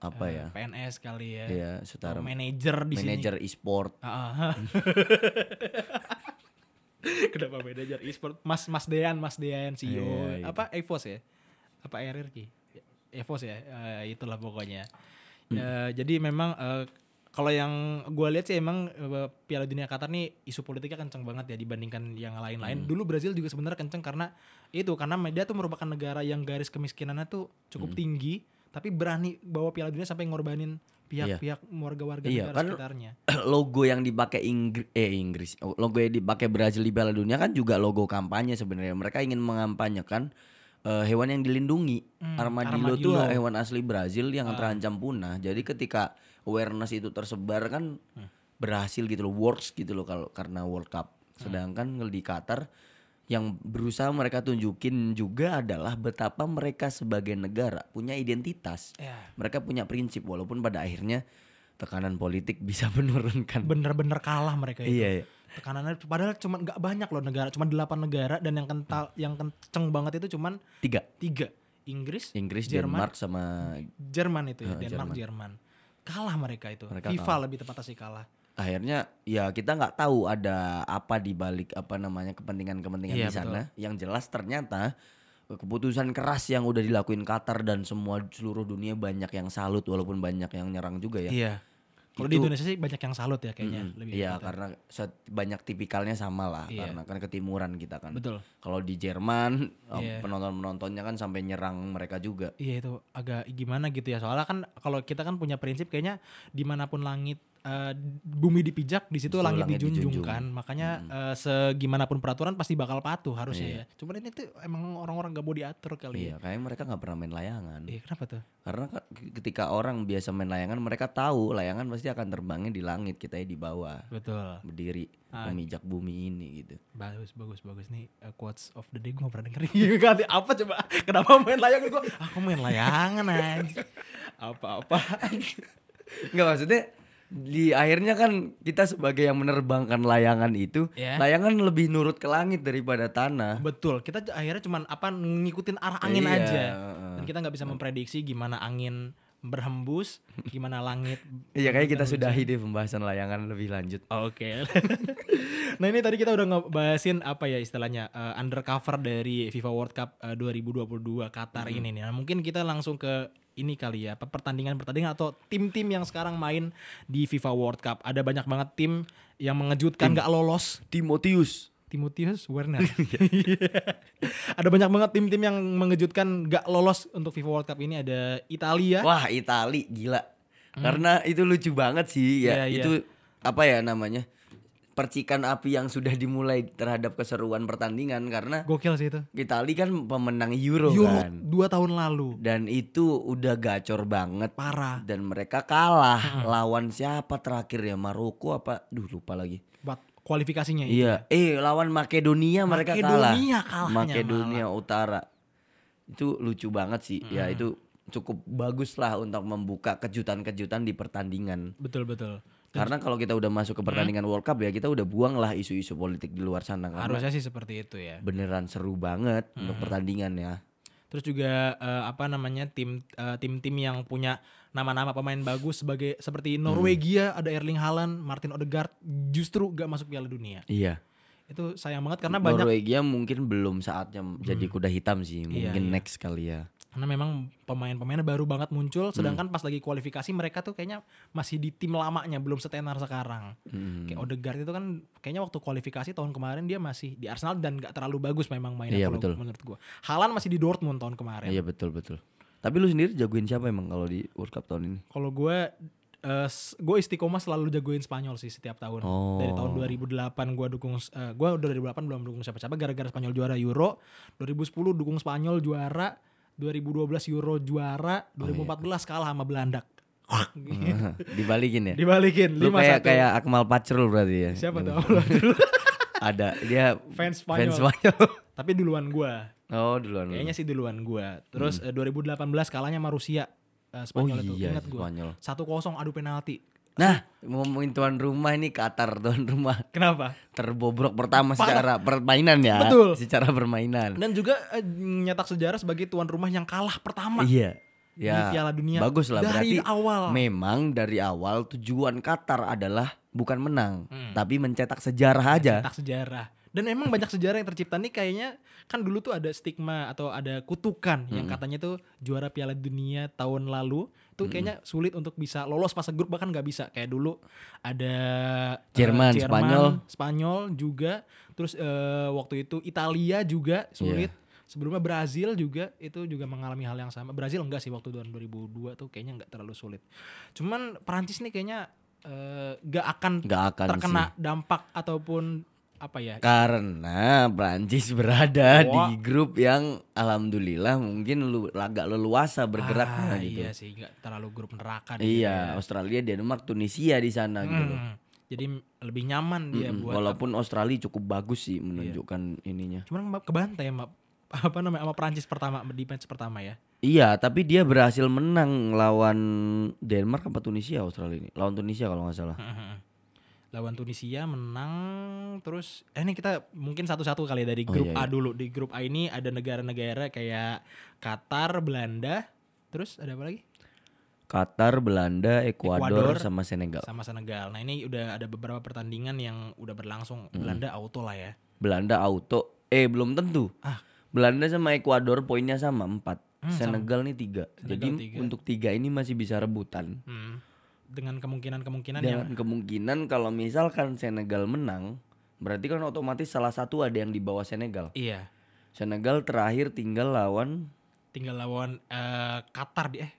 [SPEAKER 2] Eh,
[SPEAKER 3] apa ya
[SPEAKER 2] PNS kali ya.
[SPEAKER 3] ya setara
[SPEAKER 2] Manajer di sini.
[SPEAKER 3] manajer e-sport
[SPEAKER 2] Ah, ah. Kenapa manajer e-sport? Mas Mas Dean, Mas Dean CEO.
[SPEAKER 3] Iya, iya.
[SPEAKER 2] Apa Evos ya? Apa RRQ? Evos ya. Eh, itulah pokoknya.
[SPEAKER 3] Hmm.
[SPEAKER 2] Eh, jadi memang eh, kalau yang gue lihat sih emang eh, Piala Dunia Qatar nih isu politiknya kenceng banget ya dibandingkan yang
[SPEAKER 3] Hmm.
[SPEAKER 2] lain-lain. Dulu Brazil juga sebenarnya kenceng karena itu karena dia tuh merupakan negara yang garis kemiskinannya tuh
[SPEAKER 3] Hmm.
[SPEAKER 2] cukup tinggi, tapi berani bawa Piala Dunia sampai ngorbanin pihak-pihak warga-warga negara
[SPEAKER 3] Iya, kan
[SPEAKER 2] sekitarnya.
[SPEAKER 3] logo yang dipakai Inggris eh Inggris logo yang dipakai Brazil di Piala Dunia kan juga logo kampanye sebenarnya mereka ingin mengampanyekan eh, hewan yang dilindungi
[SPEAKER 2] Hmm,
[SPEAKER 3] armadillo, tuh
[SPEAKER 2] armadillo. Ah.
[SPEAKER 3] hewan asli Brazil yang terancam punah jadi ketika awareness itu tersebar kan
[SPEAKER 2] Hmm.
[SPEAKER 3] berhasil gitu loh works gitu loh kalau karena World Cup
[SPEAKER 2] Hmm.
[SPEAKER 3] sedangkan di Qatar yang berusaha mereka tunjukin juga adalah betapa mereka sebagai negara punya identitas
[SPEAKER 2] Ya.
[SPEAKER 3] mereka punya prinsip walaupun pada akhirnya tekanan politik bisa menurunkan
[SPEAKER 2] bener-bener kalah mereka itu.
[SPEAKER 3] Hmm. iya iya.
[SPEAKER 2] Tekanannya padahal cuma nggak banyak loh negara, cuma 8 negara dan yang kental yang kenceng banget itu cuman
[SPEAKER 3] tiga
[SPEAKER 2] tiga Inggris,
[SPEAKER 3] Inggris
[SPEAKER 2] Jerman.
[SPEAKER 3] Denmark sama
[SPEAKER 2] Jerman itu ya,
[SPEAKER 3] Heeh,
[SPEAKER 2] Denmark, Jerman. Kalah mereka itu.
[SPEAKER 3] Mereka
[SPEAKER 2] FIFA
[SPEAKER 3] kalah.
[SPEAKER 2] lebih tepatnya sih kalah.
[SPEAKER 3] akhirnya ya kita nggak tahu ada apa di balik apa namanya kepentingan-kepentingan
[SPEAKER 2] Iya,
[SPEAKER 3] di sana yang jelas ternyata keputusan keras yang udah dilakuin Qatar dan semua seluruh dunia banyak yang salut walaupun banyak yang nyerang juga ya
[SPEAKER 2] Iya. Kalau di
[SPEAKER 3] Itu-
[SPEAKER 2] Indonesia sih banyak yang salut ya kayaknya
[SPEAKER 3] Mm-mm.
[SPEAKER 2] lebih.
[SPEAKER 3] iya
[SPEAKER 2] gitu.
[SPEAKER 3] karena set- banyak tipikalnya sama lah
[SPEAKER 2] Iya.
[SPEAKER 3] karena kan ketimuran kita kan
[SPEAKER 2] Betul.
[SPEAKER 3] kalau di Jerman eh,
[SPEAKER 2] Iya.
[SPEAKER 3] penonton-penontonnya kan sampai nyerang mereka juga
[SPEAKER 2] Iya itu agak gimana gitu ya. Soalnya kan kalau kita kan punya prinsip kayaknya dimanapun langit eh, bumi dipijak di situ
[SPEAKER 3] Di situ
[SPEAKER 2] langit,
[SPEAKER 3] langit
[SPEAKER 2] dijunjung,
[SPEAKER 3] dijunjung.
[SPEAKER 2] kan. Makanya eh, segimanapun peraturan pasti bakal patuh harusnya ya. Cuman ini tuh emang orang-orang gak mau diatur kali ya.
[SPEAKER 3] Iya, kayaknya mereka nggak pernah main layangan.
[SPEAKER 2] Iya kenapa tuh?
[SPEAKER 3] Karena ke- ketika orang biasa main layangan, mereka tahu layangan pasti akan terbangnya di langit, kita ya di bawah,
[SPEAKER 2] Betul.
[SPEAKER 3] berdiri,
[SPEAKER 2] Ah.
[SPEAKER 3] memijak bumi ini gitu.
[SPEAKER 2] Bagus, bagus, bagus nih uh, quotes of the day gue gak pernah dengerin. Ganti apa coba? Kenapa main layangan gue? Aku main layangan aja. Apa-apa.
[SPEAKER 3] Enggak maksudnya di akhirnya kan kita sebagai yang menerbangkan layangan itu,
[SPEAKER 2] Iya.
[SPEAKER 3] layangan lebih nurut ke langit daripada tanah.
[SPEAKER 2] Betul, kita j- akhirnya cuman apa ngikutin arah angin
[SPEAKER 3] Iya,
[SPEAKER 2] aja.
[SPEAKER 3] heeh.
[SPEAKER 2] Dan kita nggak bisa memprediksi gimana angin berhembus, gimana langit.
[SPEAKER 3] Iya, kayak kita sudahi deh pembahasan layangan lebih lanjut.
[SPEAKER 2] Oke. Nah ini tadi kita udah ngebahasin apa ya istilahnya eh, undercover dari FIFA World Cup eh, 2022 Qatar ini nih. Nah mungkin kita langsung ke ini kali ya pe- pertandingan-pertandingan atau tim-tim yang sekarang main di FIFA World Cup. Ada banyak banget tim yang mengejutkan nggak lolos.
[SPEAKER 3] Timotius.
[SPEAKER 2] Timotius Werner. ada banyak banget tim-tim yang mengejutkan nggak lolos untuk FIFA World Cup ini. Ada Italia.
[SPEAKER 3] Wah, Itali gila. Karena itu lucu banget sih
[SPEAKER 2] Hmm. Iya,
[SPEAKER 3] ya.
[SPEAKER 2] iya.
[SPEAKER 3] Itu apa ya namanya? Percikan api yang sudah dimulai terhadap keseruan pertandingan karena
[SPEAKER 2] Gokil sih itu.
[SPEAKER 3] Itali kan pemenang Euro,
[SPEAKER 2] Euro
[SPEAKER 3] kan.
[SPEAKER 2] dua tahun lalu.
[SPEAKER 3] Dan itu udah gacor banget
[SPEAKER 2] Parah. Hmm.
[SPEAKER 3] dan mereka kalah lawan siapa terakhir ya? Maroko apa? Duh, lupa lagi.
[SPEAKER 2] Buat kualifikasinya ya? itu.
[SPEAKER 3] Iya, eh lawan Makedonia mereka kalah.
[SPEAKER 2] Makedonia kalahnya
[SPEAKER 3] Makedonia Utara. Itu lucu banget sih. Ya itu cukup bagus lah untuk membuka kejutan-kejutan di pertandingan.
[SPEAKER 2] Betul betul.
[SPEAKER 3] Karena kalau kita udah masuk ke pertandingan World Cup ya kita udah buang lah isu-isu politik di luar sana karena
[SPEAKER 2] Harusnya sih seperti itu ya.
[SPEAKER 3] beneran seru banget untuk pertandingan ya.
[SPEAKER 2] Terus juga eh, apa namanya tim eh, tim-tim yang punya nama-nama pemain bagus sebagai seperti Norwegia ada Erling Haaland, Martin Odegaard justru gak masuk Piala Dunia.
[SPEAKER 3] Iya.
[SPEAKER 2] Itu sayang banget karena banyak
[SPEAKER 3] Norwegia mungkin belum saatnya jadi kuda hitam sih. Mungkin
[SPEAKER 2] iya.
[SPEAKER 3] next kali ya.
[SPEAKER 2] karena memang pemain-pemainnya baru banget muncul sedangkan pas lagi kualifikasi mereka tuh kayaknya masih di tim lamanya belum setenar sekarang.
[SPEAKER 3] Hmm.
[SPEAKER 2] Kayak Odegaard itu kan kayaknya waktu kualifikasi tahun kemarin dia masih di Arsenal dan gak terlalu bagus memang mainnya
[SPEAKER 3] Iya,
[SPEAKER 2] kalau
[SPEAKER 3] betul.
[SPEAKER 2] menurut gua. Haaland masih di Dortmund tahun kemarin.
[SPEAKER 3] Iya betul betul. Tapi lu sendiri jagoin siapa emang kalau di World Cup tahun ini?
[SPEAKER 2] Kalau gue gue istiqomah selalu jagoin Spanyol sih setiap tahun.
[SPEAKER 3] Oh.
[SPEAKER 2] Dari tahun 2008 gue dukung eh, gua gue 2008 belum dukung siapa-siapa gara-gara Spanyol juara Euro. 2010 dukung Spanyol juara, 2012 Euro
[SPEAKER 3] Oh,
[SPEAKER 2] juara,
[SPEAKER 3] iya.
[SPEAKER 2] 2014 kalah sama Belanda.
[SPEAKER 3] Dibalikin ya.
[SPEAKER 2] Dibalikin
[SPEAKER 3] Lu kayak
[SPEAKER 2] 5-1.
[SPEAKER 3] kayak Akmal Pacrul berarti ya.
[SPEAKER 2] siapa tuh?
[SPEAKER 3] Yang Ada dia
[SPEAKER 2] Fans Spanyol.
[SPEAKER 3] Fans Spanyol.
[SPEAKER 2] Tapi duluan gue.
[SPEAKER 3] oh, duluan lu.
[SPEAKER 2] Kayaknya sih duluan gue. Terus eh, 2018 kalahnya sama Rusia eh,
[SPEAKER 3] Hmm. oh
[SPEAKER 2] Spanyol itu.
[SPEAKER 3] iya
[SPEAKER 2] Ingat gue.
[SPEAKER 3] Spanyol.
[SPEAKER 2] 1-0 adu penalti.
[SPEAKER 3] Nah, ngomongin tuan rumah ini Qatar tuan rumah
[SPEAKER 2] Kenapa?
[SPEAKER 3] terbobrok pertama secara permainan ya.
[SPEAKER 2] Betul.
[SPEAKER 3] Secara permainan.
[SPEAKER 2] Dan juga eh, nyetak sejarah sebagai tuan rumah yang kalah pertama.
[SPEAKER 3] Iya.
[SPEAKER 2] Di
[SPEAKER 3] Ya.
[SPEAKER 2] Piala Dunia.
[SPEAKER 3] Bagus lah
[SPEAKER 2] Dari
[SPEAKER 3] berarti.
[SPEAKER 2] awal.
[SPEAKER 3] Memang dari awal tujuan Qatar adalah bukan menang,
[SPEAKER 2] Hmm.
[SPEAKER 3] tapi mencetak sejarah aja.
[SPEAKER 2] Cetak sejarah. Dan emang banyak sejarah yang tercipta nih kayaknya kan dulu tuh ada stigma atau ada kutukan yang katanya tuh juara Piala Dunia tahun lalu tuh kayaknya sulit untuk bisa lolos fase grup bahkan nggak bisa kayak dulu ada eh,
[SPEAKER 3] Jerman, Spanyol.
[SPEAKER 2] Spanyol juga terus eh, waktu itu Italia juga sulit
[SPEAKER 3] Iya.
[SPEAKER 2] sebelumnya Brazil juga itu juga mengalami hal yang sama Brazil enggak sih waktu tahun 2002 tuh kayaknya nggak terlalu sulit cuman Perancis nih kayaknya eh, nggak akan
[SPEAKER 3] Nggak akan
[SPEAKER 2] terkena
[SPEAKER 3] sih.
[SPEAKER 2] dampak ataupun apa ya?
[SPEAKER 3] Karena Prancis berada
[SPEAKER 2] Wah.
[SPEAKER 3] di grup yang alhamdulillah mungkin lu agak leluasa
[SPEAKER 2] Ah,
[SPEAKER 3] bergeraknya gitu.
[SPEAKER 2] Iya sih, nggak terlalu grup neraka. dia.
[SPEAKER 3] Iya, Australia, Denmark, Tunisia di sana gitu loh.
[SPEAKER 2] Hmm, Jadi lebih nyaman dia
[SPEAKER 3] Mm-mm,
[SPEAKER 2] buat. Iya.
[SPEAKER 3] Walaupun Australia cukup bagus sih menunjukkan ininya.
[SPEAKER 2] Cuman ma- kebantai sama apa namanya sama Prancis pertama di match pertama ya.
[SPEAKER 3] Iya, tapi dia berhasil menang lawan Denmark apa Tunisia Australia ini? Lawan Tunisia kalau nggak salah.
[SPEAKER 2] Lawan Tunisia menang terus eh ini kita mungkin satu-satu kali ya dari
[SPEAKER 3] Oh,
[SPEAKER 2] grup A
[SPEAKER 3] iya,
[SPEAKER 2] dulu. Di grup A ini ada negara-negara kayak Qatar, Belanda, terus ada apa lagi?
[SPEAKER 3] Qatar, Belanda,
[SPEAKER 2] Ekuador.
[SPEAKER 3] Ekuador, sama Senegal.
[SPEAKER 2] Sama Senegal. Nah, ini udah ada beberapa pertandingan yang udah berlangsung. Belanda auto lah ya.
[SPEAKER 3] Belanda auto. Eh, belum tentu.
[SPEAKER 2] Ah.
[SPEAKER 3] Belanda sama Ekuador poinnya sama 4.
[SPEAKER 2] Hmm, sama.
[SPEAKER 3] Senegal nih 3.
[SPEAKER 2] Senegal
[SPEAKER 3] Jadi
[SPEAKER 2] tiga.
[SPEAKER 3] untuk 3 ini masih bisa rebutan.
[SPEAKER 2] Hmm. Dengan kemungkinan-kemungkinan yang
[SPEAKER 3] Dan kemungkinan kalau misalkan Senegal menang, berarti kan otomatis salah satu ada yang di bawah Senegal.
[SPEAKER 2] Iya,
[SPEAKER 3] Senegal terakhir tinggal lawan
[SPEAKER 2] tinggal lawan eh, Qatar di eh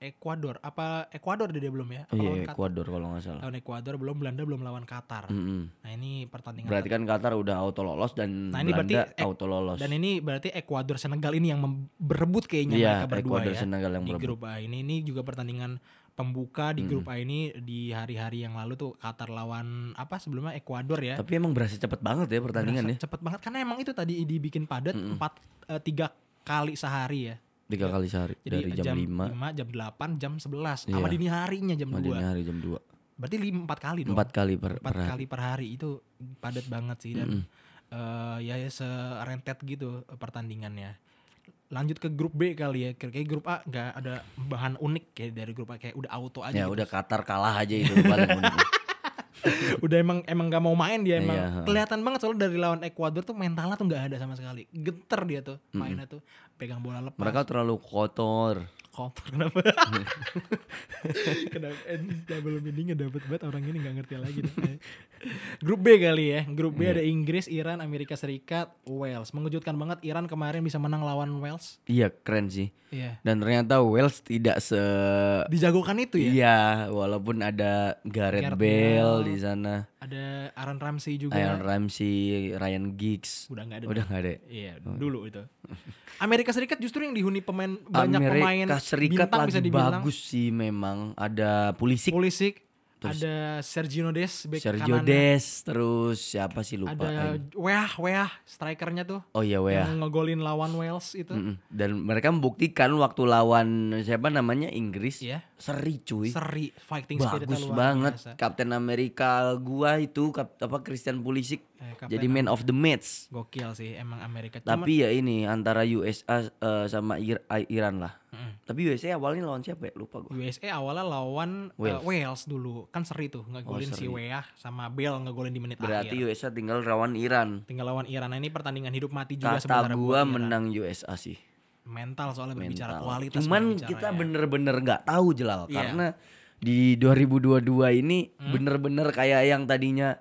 [SPEAKER 2] Ekuador. Apa Ekuador dia belum ya? Apa lawan
[SPEAKER 3] iya,
[SPEAKER 2] Qatar?
[SPEAKER 3] Ekuador kalau nggak salah.
[SPEAKER 2] Lawan Ekuador belum Belanda belum lawan Qatar.
[SPEAKER 3] Mm-mm.
[SPEAKER 2] Nah, ini pertandingan
[SPEAKER 3] Berarti kan Qatar udah auto lolos dan
[SPEAKER 2] Nah, ini berarti
[SPEAKER 3] Belanda
[SPEAKER 2] Ek-
[SPEAKER 3] auto lolos.
[SPEAKER 2] dan ini berarti Ekuador Senegal ini yang mem- berebut kayaknya mereka
[SPEAKER 3] Iya,
[SPEAKER 2] berdua
[SPEAKER 3] Ekuador
[SPEAKER 2] ya.
[SPEAKER 3] Senegal yang
[SPEAKER 2] Di
[SPEAKER 3] berebut. Hmm.
[SPEAKER 2] grup A ini ini juga pertandingan pembuka di grup A ini di hari-hari yang lalu tuh Qatar lawan apa sebelumnya Ekuador ya.
[SPEAKER 3] Tapi emang berasa cepet banget ya pertandingan Hmm.
[SPEAKER 2] Berasa
[SPEAKER 3] ya.
[SPEAKER 2] Cepet banget karena emang itu tadi dibikin padat
[SPEAKER 3] Mm-mm.
[SPEAKER 2] empat eh, tiga kali sehari ya.
[SPEAKER 3] Tiga kali sehari dari
[SPEAKER 2] Jadi
[SPEAKER 3] jam, 5
[SPEAKER 2] 5, jam 8, jam 11,
[SPEAKER 3] Iya.
[SPEAKER 2] sama dini harinya jam
[SPEAKER 3] sama
[SPEAKER 2] 2.
[SPEAKER 3] dini hari jam 2.
[SPEAKER 2] Berarti 5 4 kali dong.
[SPEAKER 3] Empat kali per,
[SPEAKER 2] Gitu. empat
[SPEAKER 3] per hari.
[SPEAKER 2] kali Iya. per hari itu padat banget sih dan eh, ya ya serentet gitu eh, pertandingannya. Lanjut ke grup B kali ya. Kayaknya grup A nggak ada bahan unik kayak dari grup A kayak udah auto aja.
[SPEAKER 3] Ya
[SPEAKER 2] gitu.
[SPEAKER 3] udah Qatar kalah aja itu paling unik.
[SPEAKER 2] udah emang emang gak mau main dia emang
[SPEAKER 3] Iya, ha.
[SPEAKER 2] kelihatan banget soalnya dari lawan Ekuador tuh mentalnya tuh nggak ada sama sekali geter dia tuh mainnya tuh pegang bola lepas
[SPEAKER 3] Mereka terlalu kotor.
[SPEAKER 2] kotor kenapa kenapa eh, double meaningnya dapat banget orang ini nggak ngerti lagi deh. Eh, grup B kali ya grup B ada Inggris Iran Amerika Serikat Wales mengejutkan banget Iran kemarin bisa menang lawan Wales
[SPEAKER 3] Iya keren sih.
[SPEAKER 2] iya
[SPEAKER 3] Dan ternyata Wales tidak se
[SPEAKER 2] dijagokan itu ya
[SPEAKER 3] Iya, walaupun ada Gareth
[SPEAKER 2] Gareth
[SPEAKER 3] Bale
[SPEAKER 2] Bale.
[SPEAKER 3] di sana,
[SPEAKER 2] ada Aaron Ramsey juga
[SPEAKER 3] Aaron Ramsey, Ryan Giggs.
[SPEAKER 2] udah nggak ada
[SPEAKER 3] Iya. Udah nggak ada.
[SPEAKER 2] Iya, dulu itu. Amerika Serikat justru yang dihuni pemain banyak
[SPEAKER 3] Amerika
[SPEAKER 2] pemain
[SPEAKER 3] Serikat
[SPEAKER 2] bintang
[SPEAKER 3] lagi
[SPEAKER 2] bisa dibilang.
[SPEAKER 3] bagus sih memang. Ada Pulisic,
[SPEAKER 2] Pulisic, ada Sergio Des back
[SPEAKER 3] Sergio
[SPEAKER 2] kanan. ya.
[SPEAKER 3] Des, terus siapa sih lupa.
[SPEAKER 2] Ada
[SPEAKER 3] lagi.
[SPEAKER 2] Weah, Weah strikernya tuh
[SPEAKER 3] Oh iya Hmm. Wea.
[SPEAKER 2] yang ngegolin lawan Wales itu.
[SPEAKER 3] Mm-mm. Dan mereka membuktikan waktu lawan siapa namanya Inggris
[SPEAKER 2] Iya.
[SPEAKER 3] seri cuy.
[SPEAKER 2] Seri fighting spiritnya
[SPEAKER 3] Bagus
[SPEAKER 2] luar
[SPEAKER 3] banget.
[SPEAKER 2] biasa.
[SPEAKER 3] Kapten Amerika gua itu kap, apa Christian Pulisic
[SPEAKER 2] Eh, kapten
[SPEAKER 3] jadi man of the match.
[SPEAKER 2] Gokil sih emang Amerika. Cuman-
[SPEAKER 3] Tapi ya ini antara USA eh, sama Ir- I- Iran lah.
[SPEAKER 2] Mm.
[SPEAKER 3] Tapi USA awalnya lawan siapa ya? Lupa gue.
[SPEAKER 2] USA awalnya lawan eh, Wales,
[SPEAKER 3] Wales. Oh,
[SPEAKER 2] dulu. Kan seri tuh ngegolin si
[SPEAKER 3] seri.
[SPEAKER 2] Weah sama Bale ngegolin di menit
[SPEAKER 3] Berarti
[SPEAKER 2] akhir.
[SPEAKER 3] USA tinggal lawan Iran.
[SPEAKER 2] Tinggal lawan Iran. Nah, ini pertandingan hidup mati juga
[SPEAKER 3] Kata
[SPEAKER 2] sebenarnya buat
[SPEAKER 3] gua
[SPEAKER 2] Iran.
[SPEAKER 3] menang USA sih.
[SPEAKER 2] mental soalnya berbicara
[SPEAKER 3] Mental.
[SPEAKER 2] kualitas
[SPEAKER 3] Cuman
[SPEAKER 2] berbicara
[SPEAKER 3] kita
[SPEAKER 2] ya.
[SPEAKER 3] bener-bener nggak tahu
[SPEAKER 2] Iya.
[SPEAKER 3] jelal
[SPEAKER 2] Hmm?
[SPEAKER 3] karena di 2022 ini bener-bener kayak yang tadinya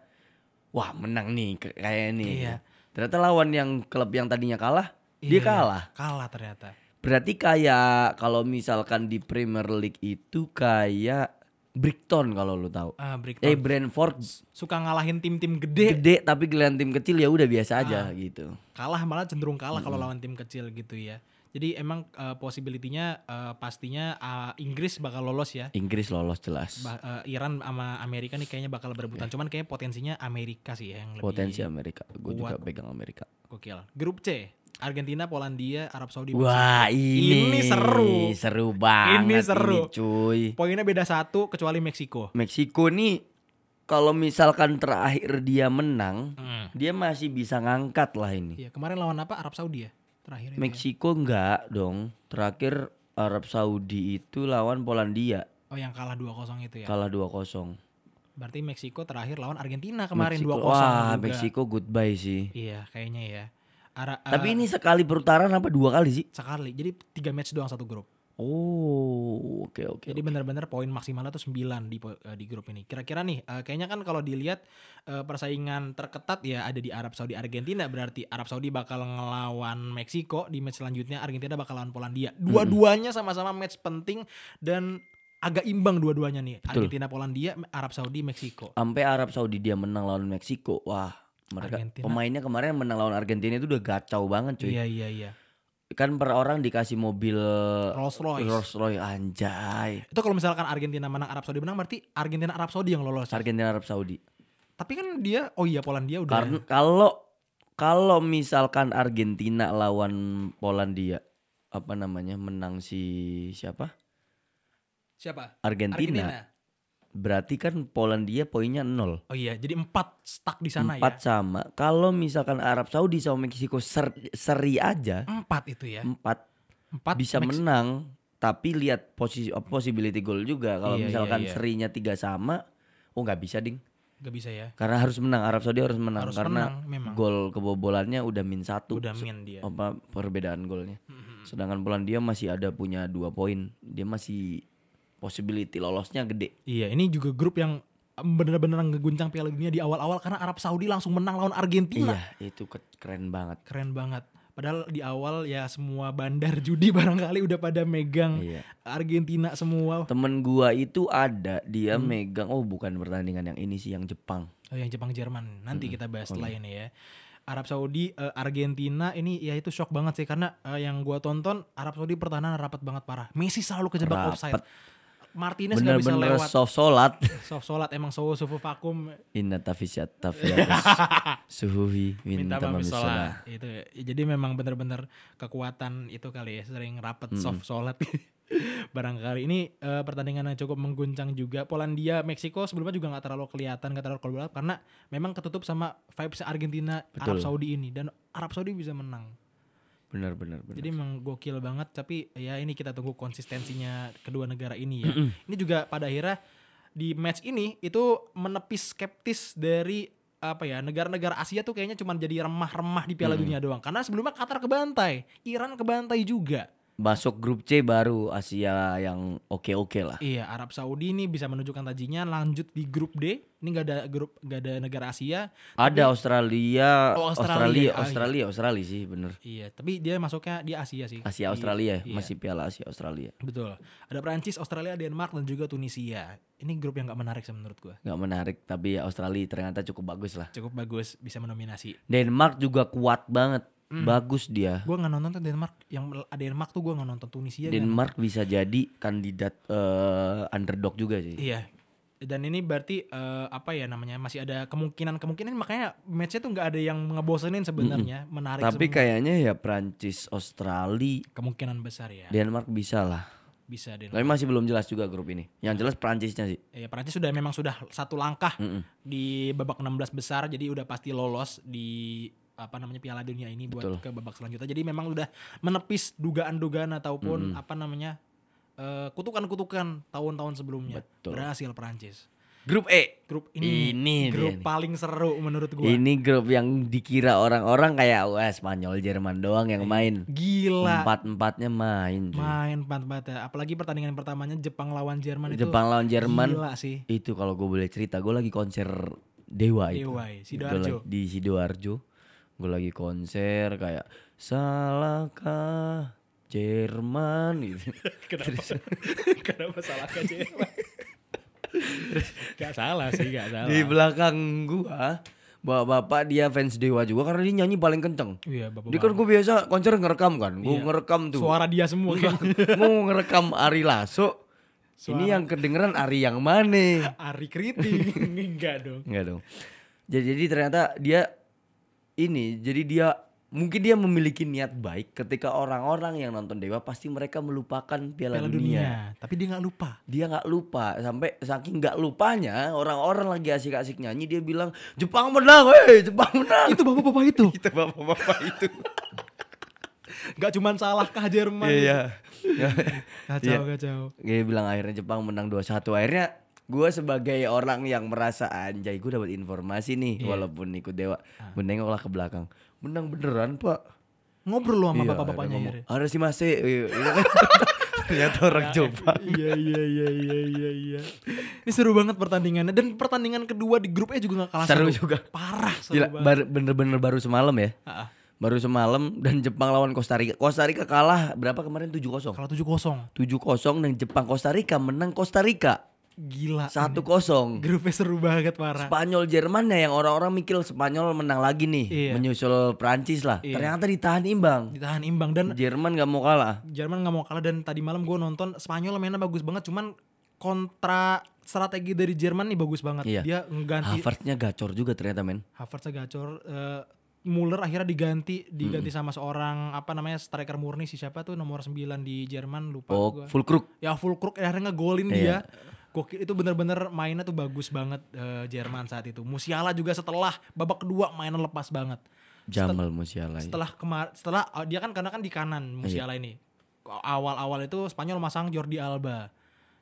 [SPEAKER 3] wah menang nih ke- kayak nih.
[SPEAKER 2] Iya.
[SPEAKER 3] Ternyata lawan yang klub yang tadinya kalah
[SPEAKER 2] Iya,
[SPEAKER 3] dia kalah.
[SPEAKER 2] kalah ternyata
[SPEAKER 3] Berarti kayak kalau misalkan di Premier League itu kayak Brighton kalau lu tahu.
[SPEAKER 2] Ah,
[SPEAKER 3] Eh
[SPEAKER 2] Brighton
[SPEAKER 3] Brentford
[SPEAKER 2] suka ngalahin tim-tim gede
[SPEAKER 3] gede tapi gelian tim kecil ya udah biasa
[SPEAKER 2] Ah.
[SPEAKER 3] aja gitu.
[SPEAKER 2] kalah malah cenderung kalah kalau lawan tim kecil gitu ya jadi emang eh, possibility-nya eh, pastinya eh, Inggris bakal lolos ya
[SPEAKER 3] Inggris lolos jelas.
[SPEAKER 2] Ba- eh, Iran sama Amerika nih kayaknya bakal berebutan cuman kayaknya potensinya Amerika sih ya yang lebih
[SPEAKER 3] Iya. Potensi Amerika. Gue juga
[SPEAKER 2] kuat.
[SPEAKER 3] pegang Amerika.
[SPEAKER 2] gokil grup C Argentina Polandia Arab Saudi
[SPEAKER 3] Wah, ini,
[SPEAKER 2] Ini seru.
[SPEAKER 3] Seru banget
[SPEAKER 2] Ini seru.
[SPEAKER 3] ini, cuy.
[SPEAKER 2] poinnya beda satu kecuali Meksiko
[SPEAKER 3] Meksiko nih kalau misalkan terakhir dia menang,
[SPEAKER 2] Mm.
[SPEAKER 3] dia masih bisa ngangkat lah ini.
[SPEAKER 2] Iya, kemarin lawan apa Arab Saudi ya terakhir itu ya.
[SPEAKER 3] Meksiko enggak dong. Terakhir Arab Saudi itu lawan Polandia
[SPEAKER 2] oh yang kalah 2-0 itu ya
[SPEAKER 3] kalah 2-0.
[SPEAKER 2] Berarti Meksiko terakhir lawan Argentina kemarin
[SPEAKER 3] Meksiko-
[SPEAKER 2] 2-0
[SPEAKER 3] Wah,
[SPEAKER 2] juga.
[SPEAKER 3] Meksiko goodbye sih.
[SPEAKER 2] Iya, kayaknya ya. Ara- eh,
[SPEAKER 3] Tapi ini sekali perputaran apa dua kali sih?
[SPEAKER 2] sekali. Jadi tiga match doang satu grup.
[SPEAKER 3] Oh, oke oke.
[SPEAKER 2] Jadi benar-benar poin maksimalnya tuh 9 di po- eh, di grup ini. Kira-kira nih, eh, kayaknya kan kalau dilihat eh, persaingan terketat ya ada di Arab Saudi Argentina, berarti Arab Saudi bakal ngelawan Meksiko di match selanjutnya Argentina bakal lawan Polandia.
[SPEAKER 3] Hmm.
[SPEAKER 2] Dua-duanya sama-sama match penting dan agak imbang dua-duanya nih. Argentina Polandia, Arab Saudi Meksiko.
[SPEAKER 3] Sampai Arab Saudi dia menang lawan Meksiko. Wah, mereka
[SPEAKER 2] Argentina.
[SPEAKER 3] pemainnya kemarin yang menang lawan Argentina itu udah kacau banget cuy.
[SPEAKER 2] Iya iya iya.
[SPEAKER 3] Kan per orang dikasih mobil
[SPEAKER 2] Rolls Royce.
[SPEAKER 3] Eh, Rolls Royce anjay.
[SPEAKER 2] Itu kalau misalkan Argentina menang Arab Saudi menang berarti Argentina Arab Saudi yang lolos.
[SPEAKER 3] Argentina Arab Saudi.
[SPEAKER 2] Tapi kan dia oh iya Polandia udah.
[SPEAKER 3] Karena kalau kalau misalkan Argentina lawan Polandia apa namanya menang si siapa?
[SPEAKER 2] siapa?
[SPEAKER 3] Argentina. Berarti kan Polandia poinnya nol.
[SPEAKER 2] Oh iya, jadi empat stuck di sana ya?
[SPEAKER 3] empat sama kalau misalkan Arab Saudi sama Meksiko ser- seri aja
[SPEAKER 2] ya. Empat itu ya.
[SPEAKER 3] empat
[SPEAKER 2] Empat
[SPEAKER 3] bisa
[SPEAKER 2] Mex-
[SPEAKER 3] menang tapi lihat posisi apa, possibility goal juga kalau
[SPEAKER 2] Iya, iya,
[SPEAKER 3] misalkan
[SPEAKER 2] iya.
[SPEAKER 3] serinya tiga sama oh nggak bisa ding
[SPEAKER 2] Gak bisa ya.
[SPEAKER 3] karena harus menang Arab Saudi harus menang
[SPEAKER 2] Harus
[SPEAKER 3] Nah, karena
[SPEAKER 2] menang memang.
[SPEAKER 3] gol kebobolannya udah min satu
[SPEAKER 2] udah
[SPEAKER 3] Se- oh.
[SPEAKER 2] min iya. dia.
[SPEAKER 3] apa perbedaan golnya
[SPEAKER 2] Mhm.
[SPEAKER 3] sedangkan Polandia masih ada punya dua poin dia masih possibility lolosnya gede
[SPEAKER 2] Iya, ini juga grup yang um, bener-bener ngeguncang Piala Dunia di awal-awal karena Arab Saudi langsung menang lawan Argentina.
[SPEAKER 3] iya itu ke- keren banget
[SPEAKER 2] Keren banget. Padahal di awal ya semua bandar judi barangkali udah pada megang
[SPEAKER 3] iya
[SPEAKER 2] Argentina semua.
[SPEAKER 3] Temen gua itu ada dia
[SPEAKER 2] Hmm.
[SPEAKER 3] megang oh bukan pertandingan yang ini sih yang Jepang.
[SPEAKER 2] Oh, yang Jepang Jerman. Nanti kita bahas setelah ini ya. Arab Saudi eh, Argentina ini ya itu shock banget sih karena eh, yang gua tonton Arab Saudi pertahanan rapat banget parah. Messi selalu kejebak
[SPEAKER 3] Rapat.
[SPEAKER 2] offside. Martinez nggak bisa
[SPEAKER 3] Bener-bener
[SPEAKER 2] lewat.
[SPEAKER 3] soft solat.
[SPEAKER 2] Soft sholat emang sowo sufu vakum
[SPEAKER 3] Inna tafisyat tafiyatus suhuhi
[SPEAKER 2] minta
[SPEAKER 3] minta
[SPEAKER 2] maaf
[SPEAKER 3] maaf sholat.
[SPEAKER 2] sholat. Itu ya. jadi memang bener-bener kekuatan itu kali ya sering rapat soft sholat. Barangkali ini eh, pertandingan yang cukup mengguncang juga. Polandia, Meksiko sebelumnya juga nggak terlalu kelihatan, nggak terlalu kelihatan karena memang ketutup sama vibes Argentina, Arab
[SPEAKER 3] Betul.
[SPEAKER 2] Saudi ini dan Arab Saudi bisa menang.
[SPEAKER 3] Bener bener bener.
[SPEAKER 2] Jadi memang gokil banget tapi ya ini kita tunggu konsistensinya kedua negara ini ya. ini juga pada akhirnya di match ini itu menepis skeptis dari apa ya negara-negara Asia tuh kayaknya cuma jadi remah-remah di Piala
[SPEAKER 3] Hmm.
[SPEAKER 2] Dunia doang. Karena sebelumnya Qatar kebantai, Iran kebantai juga.
[SPEAKER 3] Masuk grup C baru Asia yang oke-oke lah.
[SPEAKER 2] Iya, Arab Saudi ini bisa menunjukkan tajinya lanjut di grup D. Ini nggak ada grup nggak ada negara Asia.
[SPEAKER 3] Ada Australia,
[SPEAKER 2] Oh, Australia.
[SPEAKER 3] Australia, Australia,
[SPEAKER 2] Ah, iya.
[SPEAKER 3] Australia, sih bener.
[SPEAKER 2] Iya, tapi dia masuknya di Asia sih.
[SPEAKER 3] Asia
[SPEAKER 2] Di-
[SPEAKER 3] Australia ya,
[SPEAKER 2] iya.
[SPEAKER 3] masih Piala Asia Australia.
[SPEAKER 2] Betul. Ada Prancis, Australia, Denmark dan juga Tunisia. Ini grup yang nggak menarik sih menurut gua.
[SPEAKER 3] Gak menarik tapi ya Australia ternyata cukup bagus lah.
[SPEAKER 2] Cukup bagus bisa menominasi.
[SPEAKER 3] Denmark juga kuat banget,
[SPEAKER 2] Hmm.
[SPEAKER 3] bagus dia.
[SPEAKER 2] Gua nggak nonton tuh Denmark yang mel- Denmark tuh gua nggak nonton Tunisia. kan. nggak
[SPEAKER 3] Denmark bisa jadi kandidat eh, underdog juga sih.
[SPEAKER 2] Iya. Dan ini berarti eh, apa ya namanya masih ada kemungkinan-kemungkinan makanya matchnya tuh nggak ada yang ngebosenin sebenarnya menarik
[SPEAKER 3] Tapi
[SPEAKER 2] semua.
[SPEAKER 3] kayaknya ya Prancis, Australia,
[SPEAKER 2] kemungkinan besar ya
[SPEAKER 3] Denmark bisa lah.
[SPEAKER 2] bisa Denmark.
[SPEAKER 3] Tapi masih belum jelas juga grup ini. Yang jelas Prancisnya sih.
[SPEAKER 2] Ya Prancis sudah memang sudah satu langkah
[SPEAKER 3] Mm-mm.
[SPEAKER 2] di babak 16 besar jadi udah pasti lolos di apa namanya Piala Dunia ini buat
[SPEAKER 3] Betul.
[SPEAKER 2] ke babak selanjutnya. Jadi memang udah menepis dugaan-dugaan ataupun apa namanya eh, kutukan-kutukan tahun-tahun sebelumnya.
[SPEAKER 3] Betul.
[SPEAKER 2] Berhasil Prancis.
[SPEAKER 3] Grup E.
[SPEAKER 2] Grup ini,
[SPEAKER 3] Ini dia
[SPEAKER 2] grup
[SPEAKER 3] nih.
[SPEAKER 2] paling seru menurut gua.
[SPEAKER 3] Ini grup yang dikira orang-orang kayak wah Spanyol, Jerman doang yang main.
[SPEAKER 2] Gila.
[SPEAKER 3] Empat-empatnya main. cuy.
[SPEAKER 2] main empat mata apalagi pertandingan pertamanya Jepang lawan Jerman itu
[SPEAKER 3] Jepang lawan Jerman.
[SPEAKER 2] gila sih
[SPEAKER 3] Itu kalau gue boleh cerita, gue lagi konser Dewa itu.
[SPEAKER 2] Dewa ya,
[SPEAKER 3] Gua
[SPEAKER 2] Sidoarjo.
[SPEAKER 3] lagi- Di Sidoarjo. Gue lagi konser kayak salahkah Jerman gitu.
[SPEAKER 2] kenapa kenapa salah ke Jerman gak salah sih gak salah
[SPEAKER 3] Di belakang gua bapak-bapak dia fans Dewa juga karena dia nyanyi paling kenceng.
[SPEAKER 2] iya bapak
[SPEAKER 3] Dia kan gue biasa konser ngerekam kan, gue ngerekam tuh.
[SPEAKER 2] suara dia semua kan
[SPEAKER 3] Mau ngerekam Ari Lasso. Ini yang kedengeran Ari yang mana?
[SPEAKER 2] Ari kritik enggak dong
[SPEAKER 3] Enggak dong. Jadi, jadi ternyata dia ini, jadi dia mungkin dia memiliki niat baik ketika orang-orang yang nonton Dewa pasti mereka melupakan
[SPEAKER 2] Piala
[SPEAKER 3] Piala, Dunia.
[SPEAKER 2] dunia. tapi dia nggak lupa
[SPEAKER 3] Dia nggak lupa sampai saking nggak lupanya orang-orang lagi asik-asik nyanyi dia bilang Jepang menang, weh, Jepang menang.
[SPEAKER 2] itu bapak-bapak itu
[SPEAKER 3] Itu bapak-bapak itu.
[SPEAKER 2] nggak cuman salahkah Jerman
[SPEAKER 3] Iya.
[SPEAKER 2] kacau kacau
[SPEAKER 3] Dia bilang akhirnya Jepang menang 2-1 Akhirnya gue sebagai orang yang merasa anjay gue dapat informasi
[SPEAKER 2] Iya.
[SPEAKER 3] nih walaupun ikut dewa
[SPEAKER 2] Ah.
[SPEAKER 3] Gue nengok lah ke belakang menang beneran pak
[SPEAKER 2] ngobrol lu sama
[SPEAKER 3] Iya,
[SPEAKER 2] bapak-bapaknya
[SPEAKER 3] akhirnya
[SPEAKER 2] Jer.
[SPEAKER 3] ngomong, ada sih masih Iya, iya. ternyata orang Jepang
[SPEAKER 2] iya iya iya iya iya iya. Ini seru banget pertandingannya dan pertandingan kedua di grup E juga gak kalah
[SPEAKER 3] Seru juga.
[SPEAKER 2] Parah seru
[SPEAKER 3] Gila,
[SPEAKER 2] banget.
[SPEAKER 3] bar- bener-bener baru semalam ya
[SPEAKER 2] Ah, ah.
[SPEAKER 3] baru semalam dan Jepang lawan Costa Rica Costa Rica kalah berapa kemarin 7-0 7-0
[SPEAKER 2] Kalau 7-0
[SPEAKER 3] dan Jepang Costa Rica menang Costa Rica
[SPEAKER 2] gila.
[SPEAKER 3] 1-0
[SPEAKER 2] Ini. Grupnya seru banget parah.
[SPEAKER 3] Spanyol Jerman ya yang orang-orang mikir Spanyol menang lagi nih
[SPEAKER 2] Iya.
[SPEAKER 3] menyusul Prancis lah ternyata ditahan imbang
[SPEAKER 2] Ditahan imbang dan
[SPEAKER 3] Jerman nggak mau kalah
[SPEAKER 2] Jerman nggak mau kalah dan tadi malam gue nonton Spanyol mainnya bagus banget cuman kontra strategi dari Jerman nih bagus banget.
[SPEAKER 3] Iya.
[SPEAKER 2] Dia ngganti
[SPEAKER 3] Havertznya gacor juga ternyata men
[SPEAKER 2] Havertz gacor eh, Muller akhirnya diganti diganti sama seorang apa namanya striker murni si siapa tuh nomor 9 di Jerman lupa
[SPEAKER 3] oh
[SPEAKER 2] gua.
[SPEAKER 3] full crook
[SPEAKER 2] ya full crook akhirnya ngegolin dia Gokil itu bener-bener mainnya tuh bagus banget eh, Jerman saat itu. Musiala juga setelah babak kedua mainnya lepas banget.
[SPEAKER 3] Ah, Jamal Musiala ya.
[SPEAKER 2] Setelah kemar setelah eh, dia kan karena kan di kanan Musiala ini. Awal-awal itu Spanyol masang Jordi Alba.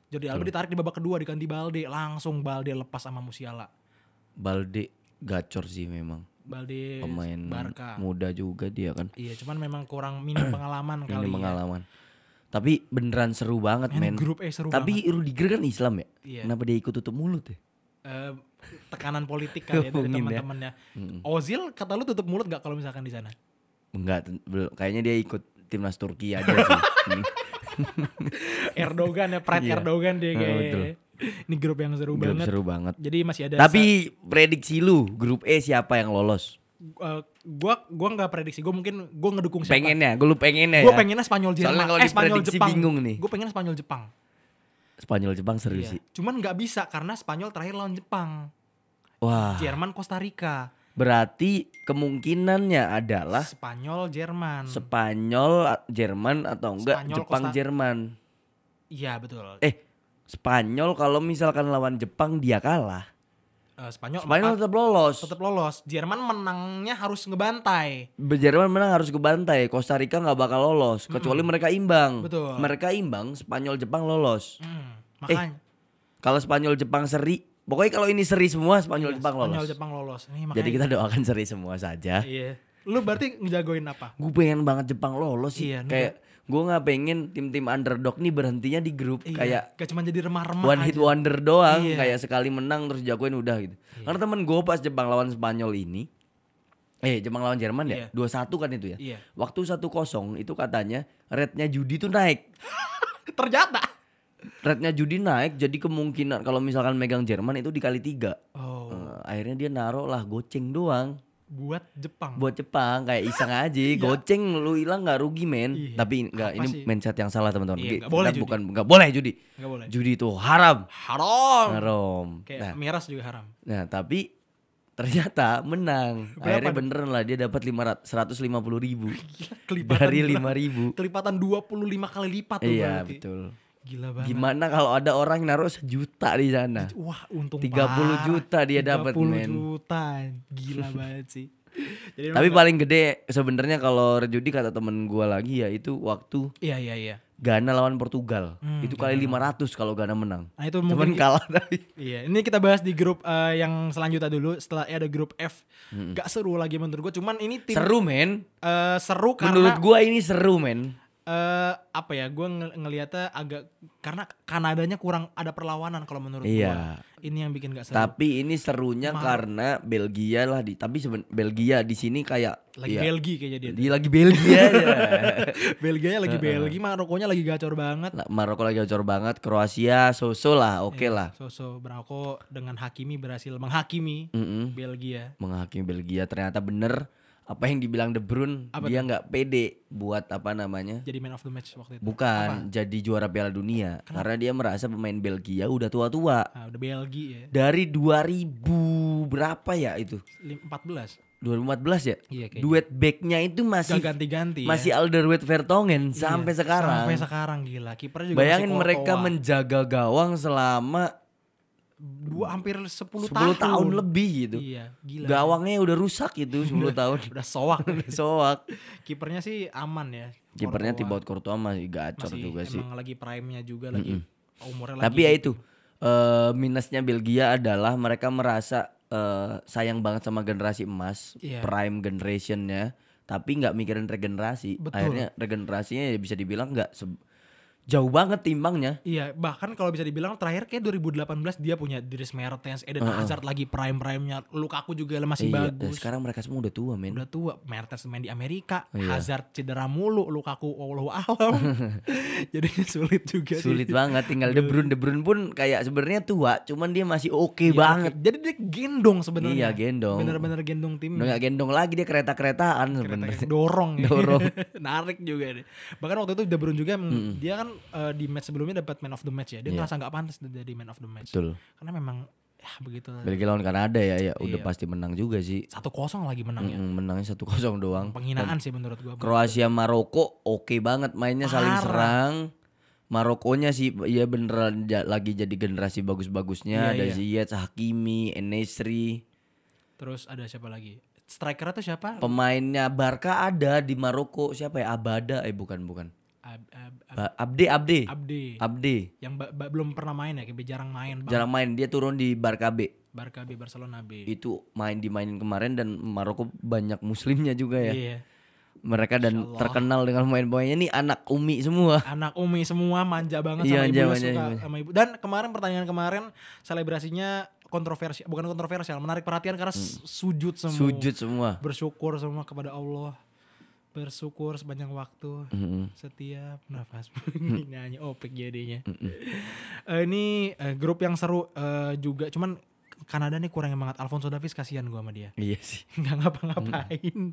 [SPEAKER 2] Jordi Alba ditarik di babak kedua diganti Balde, langsung Balde lepas sama Musiala.
[SPEAKER 3] Balde gacor sih memang
[SPEAKER 2] Balde
[SPEAKER 3] pemain
[SPEAKER 2] Iya, Barca.
[SPEAKER 3] muda juga dia kan
[SPEAKER 2] Iya, cuman memang kurang minim pengalaman
[SPEAKER 3] ini
[SPEAKER 2] kali. ya.
[SPEAKER 3] pengalaman tapi beneran seru banget
[SPEAKER 2] Ini
[SPEAKER 3] men
[SPEAKER 2] grup E seru banget.
[SPEAKER 3] tapi Rudiger kan Islam ya
[SPEAKER 2] Iya.
[SPEAKER 3] kenapa dia ikut tutup mulut ya
[SPEAKER 2] Eh, tekanan politik kali ya dari
[SPEAKER 3] Mungkin ya.
[SPEAKER 2] teman-temannya. Ozil kata lu tutup mulut gak kalau misalkan di sana?
[SPEAKER 3] enggak ten- belum. kayaknya dia ikut timnas Turki aja sih Hmm.
[SPEAKER 2] Erdogan ya, pride
[SPEAKER 3] Iya.
[SPEAKER 2] Erdogan dia
[SPEAKER 3] Nah,
[SPEAKER 2] kayak.
[SPEAKER 3] betul.
[SPEAKER 2] Ini grup yang seru
[SPEAKER 3] Grup
[SPEAKER 2] banget.
[SPEAKER 3] seru banget
[SPEAKER 2] Jadi masih ada
[SPEAKER 3] Tapi prediksi lu grup E siapa yang lolos?
[SPEAKER 2] sa- eh, gua gua nggak prediksi, gua mungkin gua ngedukung siapa.
[SPEAKER 3] Pengennya, gue lu pengennya
[SPEAKER 2] Gua
[SPEAKER 3] ya.
[SPEAKER 2] pengennya Spanyol
[SPEAKER 3] Soalnya
[SPEAKER 2] Jerman,
[SPEAKER 3] kalau
[SPEAKER 2] eh Spanyol
[SPEAKER 3] diprediksi
[SPEAKER 2] Jepang.
[SPEAKER 3] bingung nih.
[SPEAKER 2] Gua pengen Spanyol Jepang.
[SPEAKER 3] Spanyol Jepang seru
[SPEAKER 2] Iya.
[SPEAKER 3] sih.
[SPEAKER 2] Cuman nggak bisa karena Spanyol terakhir lawan Jepang.
[SPEAKER 3] Wah,
[SPEAKER 2] Jerman Costa Rica,
[SPEAKER 3] berarti kemungkinannya adalah
[SPEAKER 2] Spanyol Jerman.
[SPEAKER 3] Spanyol a- Jerman atau enggak
[SPEAKER 2] Spanyol,
[SPEAKER 3] Jepang
[SPEAKER 2] Costa-
[SPEAKER 3] Jerman.
[SPEAKER 2] Iya betul.
[SPEAKER 3] Eh, Spanyol kalau misalkan lawan Jepang dia kalah,
[SPEAKER 2] Eh, Spanyol,
[SPEAKER 3] Spanyol
[SPEAKER 2] empat,
[SPEAKER 3] tetap lolos.
[SPEAKER 2] tetap lolos. Jerman menangnya harus ngebantai.
[SPEAKER 3] Be- Jerman menang harus ke bantai, Costa Rica nggak bakal lolos kecuali mereka imbang.
[SPEAKER 2] Betul.
[SPEAKER 3] Mereka imbang, Spanyol Jepang lolos.
[SPEAKER 2] Hmm, makanya
[SPEAKER 3] Kalau Spanyol Jepang seri, pokoknya kalau ini seri semua Spanyol Jepang lolos.
[SPEAKER 2] Iya, Spanyol Jepang lolos. Nih, makanya
[SPEAKER 3] Jadi kita doakan seri semua saja.
[SPEAKER 2] Iya. Lu berarti ngejagoin apa?
[SPEAKER 3] Gue pengen banget Jepang lolos sih.
[SPEAKER 2] Iya, nih.
[SPEAKER 3] kayak gue nggak pengen tim-tim underdog nih berhentinya di grup
[SPEAKER 2] Iya,
[SPEAKER 3] kayak
[SPEAKER 2] gak cuma jadi remah-remah
[SPEAKER 3] one hit
[SPEAKER 2] aja.
[SPEAKER 3] wonder doang
[SPEAKER 2] Iya.
[SPEAKER 3] kayak sekali menang terus jagoin udah gitu. Karena temen gue pas Jepang lawan Spanyol ini eh Jepang lawan Jerman
[SPEAKER 2] Iya.
[SPEAKER 3] ya 2-1 kan itu ya.
[SPEAKER 2] Iya.
[SPEAKER 3] Waktu 1-0 itu katanya rednya judi tuh naik.
[SPEAKER 2] Ternyata.
[SPEAKER 3] Rednya judi naik jadi kemungkinan kalau misalkan megang Jerman itu dikali tiga.
[SPEAKER 2] Oh,
[SPEAKER 3] Eh, akhirnya dia naruh lah goceng doang
[SPEAKER 2] buat Jepang.
[SPEAKER 3] buat Jepang kayak iseng aja goceng lu hilang nggak rugi men
[SPEAKER 2] Iya.
[SPEAKER 3] tapi nggak
[SPEAKER 2] Apa
[SPEAKER 3] ini
[SPEAKER 2] sih?
[SPEAKER 3] mindset yang salah teman-teman
[SPEAKER 2] Iya,
[SPEAKER 3] Jadi,
[SPEAKER 2] nggak boleh
[SPEAKER 3] kita
[SPEAKER 2] judi.
[SPEAKER 3] bukan nggak boleh judi
[SPEAKER 2] Gak boleh.
[SPEAKER 3] judi itu haram
[SPEAKER 2] Haram.
[SPEAKER 3] haram nah
[SPEAKER 2] Kayak miras juga haram.
[SPEAKER 3] nah tapi ternyata menang
[SPEAKER 2] Berapa
[SPEAKER 3] akhirnya
[SPEAKER 2] nih?
[SPEAKER 3] beneran lah dia dapat lima seratus lima puluh ribu
[SPEAKER 2] Gila, kelipatan.
[SPEAKER 3] dari
[SPEAKER 2] gila.
[SPEAKER 3] lima ribu
[SPEAKER 2] Kelipatan 25 kali lipat tuh
[SPEAKER 3] iya
[SPEAKER 2] berarti.
[SPEAKER 3] betul
[SPEAKER 2] Gila banget.
[SPEAKER 3] gimana kalau ada orang yang naruh sejuta di sana
[SPEAKER 2] Wah, untung
[SPEAKER 3] 30
[SPEAKER 2] parah.
[SPEAKER 3] juta dia dapat,
[SPEAKER 2] 30
[SPEAKER 3] men.
[SPEAKER 2] juta. Gila banget sih. Jadi
[SPEAKER 3] tapi
[SPEAKER 2] memang-
[SPEAKER 3] paling gede sebenarnya kalau judi kata temen gua lagi ya itu waktu
[SPEAKER 2] Iya, iya, iya.
[SPEAKER 3] Ghana lawan Portugal.
[SPEAKER 2] Hmm,
[SPEAKER 3] itu kali 500 kalau Ghana menang.
[SPEAKER 2] Nah, itu
[SPEAKER 3] Cuman
[SPEAKER 2] mungkin
[SPEAKER 3] kalah tapi.
[SPEAKER 2] Iya, ini kita bahas di grup eh, yang selanjutnya dulu. Setelah ada grup F, gak seru lagi menurut gue. Cuman ini tim
[SPEAKER 3] Seru men.
[SPEAKER 2] eh, seru karena
[SPEAKER 3] Menurut gua ini seru men.
[SPEAKER 2] eh, apa ya? Gue ngelihatnya agak karena Kanadanya kurang ada perlawanan kalau menurut gua.
[SPEAKER 3] Iya.
[SPEAKER 2] Ini yang bikin gak seru.
[SPEAKER 3] Tapi ini serunya karena Belgia lah di tapi seben, Belgia di sini kayak
[SPEAKER 2] lagi
[SPEAKER 3] iya,
[SPEAKER 2] Belgia kayaknya dia.
[SPEAKER 3] dia lagi Belgia ya.
[SPEAKER 2] Belgia lagi Belgia, Marokonya lagi gacor banget.
[SPEAKER 3] Nah, Maroko lagi gacor banget, Kroasia so-so lah, oke
[SPEAKER 2] Iya.
[SPEAKER 3] lah.
[SPEAKER 2] Sosok Maroko dengan Hakimi berhasil menghakimi ya.
[SPEAKER 3] Mm-mm.
[SPEAKER 2] Belgia.
[SPEAKER 3] Menghakimi Belgia ternyata bener apa yang dibilang De Bruyne,
[SPEAKER 2] Apa
[SPEAKER 3] dia nggak pede buat apa namanya?
[SPEAKER 2] Jadi man of the match waktu itu.
[SPEAKER 3] Bukan jadi juara Piala Dunia karena dia merasa pemain Belgia udah tua-tua.
[SPEAKER 2] Ah, udah Belgia ya.
[SPEAKER 3] dari 2000 berapa ya itu?
[SPEAKER 2] Lim- 14.
[SPEAKER 3] 2014 ya?
[SPEAKER 2] Iya kayaknya.
[SPEAKER 3] Duet backnya itu masih
[SPEAKER 2] Gak ganti-ganti ya.
[SPEAKER 3] masih Alderweireld Vertonghen
[SPEAKER 2] Iya,
[SPEAKER 3] sampai sekarang.
[SPEAKER 2] Sampai sekarang gila. Kipernya juga
[SPEAKER 3] Bayangin
[SPEAKER 2] masih
[SPEAKER 3] mereka
[SPEAKER 2] kokoa.
[SPEAKER 3] menjaga gawang selama
[SPEAKER 2] dua hampir 10,
[SPEAKER 3] 10
[SPEAKER 2] tahun.
[SPEAKER 3] tahun, lebih gitu.
[SPEAKER 2] Iya, gila.
[SPEAKER 3] Gawangnya udah rusak itu 10 tahun.
[SPEAKER 2] Udah soak.
[SPEAKER 3] Udah Soak.
[SPEAKER 2] Kipernya sih aman ya.
[SPEAKER 3] Kipernya
[SPEAKER 2] Courtois
[SPEAKER 3] Thibaut Courtois masih gacor
[SPEAKER 2] masih
[SPEAKER 3] juga sih.
[SPEAKER 2] Emang lagi prime-nya juga lagi umurnya lagi.
[SPEAKER 3] Tapi ya itu eh, minusnya Belgia adalah mereka merasa eh, sayang banget sama generasi emas,
[SPEAKER 2] Iya.
[SPEAKER 3] prime generationnya, tapi nggak mikirin regenerasi.
[SPEAKER 2] Betul.
[SPEAKER 3] Akhirnya regenerasinya ya bisa dibilang nggak se- jauh banget timbangnya.
[SPEAKER 2] Iya, bahkan kalau bisa dibilang terakhir kayak 2018 dia punya Dries Mertens, Eden Hazard lagi prime-prime-nya, Lukaku juga masih
[SPEAKER 3] Iya,
[SPEAKER 2] bagus.
[SPEAKER 3] Sekarang mereka semua udah tua men.
[SPEAKER 2] Udah tua, Mertens main di Amerika,
[SPEAKER 3] Iya.
[SPEAKER 2] Hazard cedera mulu, Lukaku wallahu alam. Jadi sulit juga sih.
[SPEAKER 3] Sulit banget tinggal De Bruyne. De Bruyne pun kayak sebenarnya tua, cuman dia masih
[SPEAKER 2] Iya,
[SPEAKER 3] oke banget.
[SPEAKER 2] oke. Jadi dia gendong sebenarnya.
[SPEAKER 3] Iya, gendong. iya,
[SPEAKER 2] Bener-bener gendong tim.
[SPEAKER 3] Udah nggak gendong lagi dia kereta-keretaan sebenarnya.
[SPEAKER 2] dorong ya.
[SPEAKER 3] Dorong.
[SPEAKER 2] Narik juga deh. Bahkan waktu itu De Bruyne juga dia kan eh, di match sebelumnya dapat man of the match ya. Dia ngerasa nggak pantas jadi man of the match.
[SPEAKER 3] Iya. Betul.
[SPEAKER 2] Karena memang ya begitu lah.
[SPEAKER 3] Belgia lawan Kanada ya,
[SPEAKER 2] Iya.
[SPEAKER 3] ya udah pasti menang juga sih.
[SPEAKER 2] Satu kosong lagi menangnya.
[SPEAKER 3] Mm, Menangnya 1-0 doang.
[SPEAKER 2] Penghinaan sih menurut gua.
[SPEAKER 3] Kroasia Maroko oke banget mainnya saling
[SPEAKER 2] Parah.
[SPEAKER 3] serang. Marokonya sih ya beneran ja- lagi jadi generasi
[SPEAKER 2] Iya,
[SPEAKER 3] bagus-bagusnya ada
[SPEAKER 2] iya.
[SPEAKER 3] Ziyech, Hakimi, Enesri.
[SPEAKER 2] Terus ada siapa lagi? Striker tuh siapa?
[SPEAKER 3] Pemainnya Barca ada di Maroko siapa ya? Abada eh bukan bukan.
[SPEAKER 2] Ab- Ab- Ab-
[SPEAKER 3] Ba- Abde Abde.
[SPEAKER 2] Abdi.
[SPEAKER 3] Abde.
[SPEAKER 2] Yang ba- ba- belum pernah main ya, kayak jarang main. Bang.
[SPEAKER 3] Jarang main dia turun di Barca B.
[SPEAKER 2] Barca B, Barcelona B.
[SPEAKER 3] Itu main dimainin kemarin dan Maroko banyak muslimnya juga ya.
[SPEAKER 2] Iya.
[SPEAKER 3] Mereka dan terkenal dengan pemain-pemainnya nih anak Umi semua.
[SPEAKER 2] anak Umi semua manja banget
[SPEAKER 3] Iya,
[SPEAKER 2] sama
[SPEAKER 3] manja,
[SPEAKER 2] ibu
[SPEAKER 3] manja,
[SPEAKER 2] suka
[SPEAKER 3] manja.
[SPEAKER 2] sama ibu. Dan kemarin pertandingan kemarin selebrasinya kontroversi bukan kontroversial, menarik perhatian karena s- sujud semua.
[SPEAKER 3] Hmm. Sujud semua.
[SPEAKER 2] Bersyukur semua kepada Allah. Bersyukur sepanjang waktu.
[SPEAKER 3] Mm-mm.
[SPEAKER 2] Setiap nafas nyanyi opik jadinya. Eh, ini eh, grup yang seru eh, juga cuman Kanada nih kurang banget Alfonso Davies kasihan gua sama dia
[SPEAKER 3] Iya sih.
[SPEAKER 2] nggak ngapa-ngapain.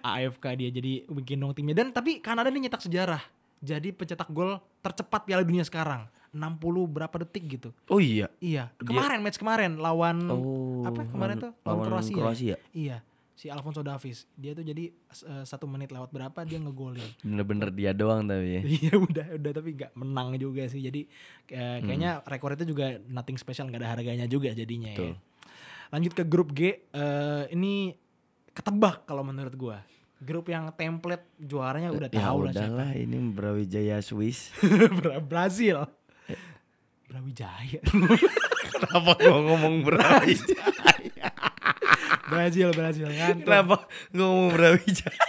[SPEAKER 2] AFK dia jadi bikin dong timnya. Dan tapi Kanada ini nyetak sejarah. Jadi pencetak gol tercepat Piala Dunia sekarang. 60 berapa detik gitu.
[SPEAKER 3] Oh iya.
[SPEAKER 2] Iya. Kemarin match kemarin lawan
[SPEAKER 3] Oh,
[SPEAKER 2] Hmm. apa kemarin
[SPEAKER 3] lawan-
[SPEAKER 2] tuh lawan
[SPEAKER 3] lawan
[SPEAKER 2] Kroasia.
[SPEAKER 3] Kroasia.
[SPEAKER 2] Iya. Si Alfonso Davies. Dia tuh jadi eh, satu menit lewat berapa dia ngegolin.
[SPEAKER 3] Bener-bener dia doang tapi ya.
[SPEAKER 2] Iya udah udah tapi nggak menang juga sih. Jadi eh, kayaknya rekor itu juga nothing special nggak ada harganya juga jadinya ya. Lanjut ke grup G eh, ini ketebak kalau menurut gua. Grup yang template juaranya udah
[SPEAKER 3] ya
[SPEAKER 2] tahu lah siapa.
[SPEAKER 3] udahlah ini Brawijaya Swiss.
[SPEAKER 2] Bra- Brazil. Brawijaya.
[SPEAKER 3] Kenapa gua ngomong Brawijaya?
[SPEAKER 2] Brazil, Brazil kan. ngantuk.
[SPEAKER 3] Kenapa gua ngomong Brawijaya?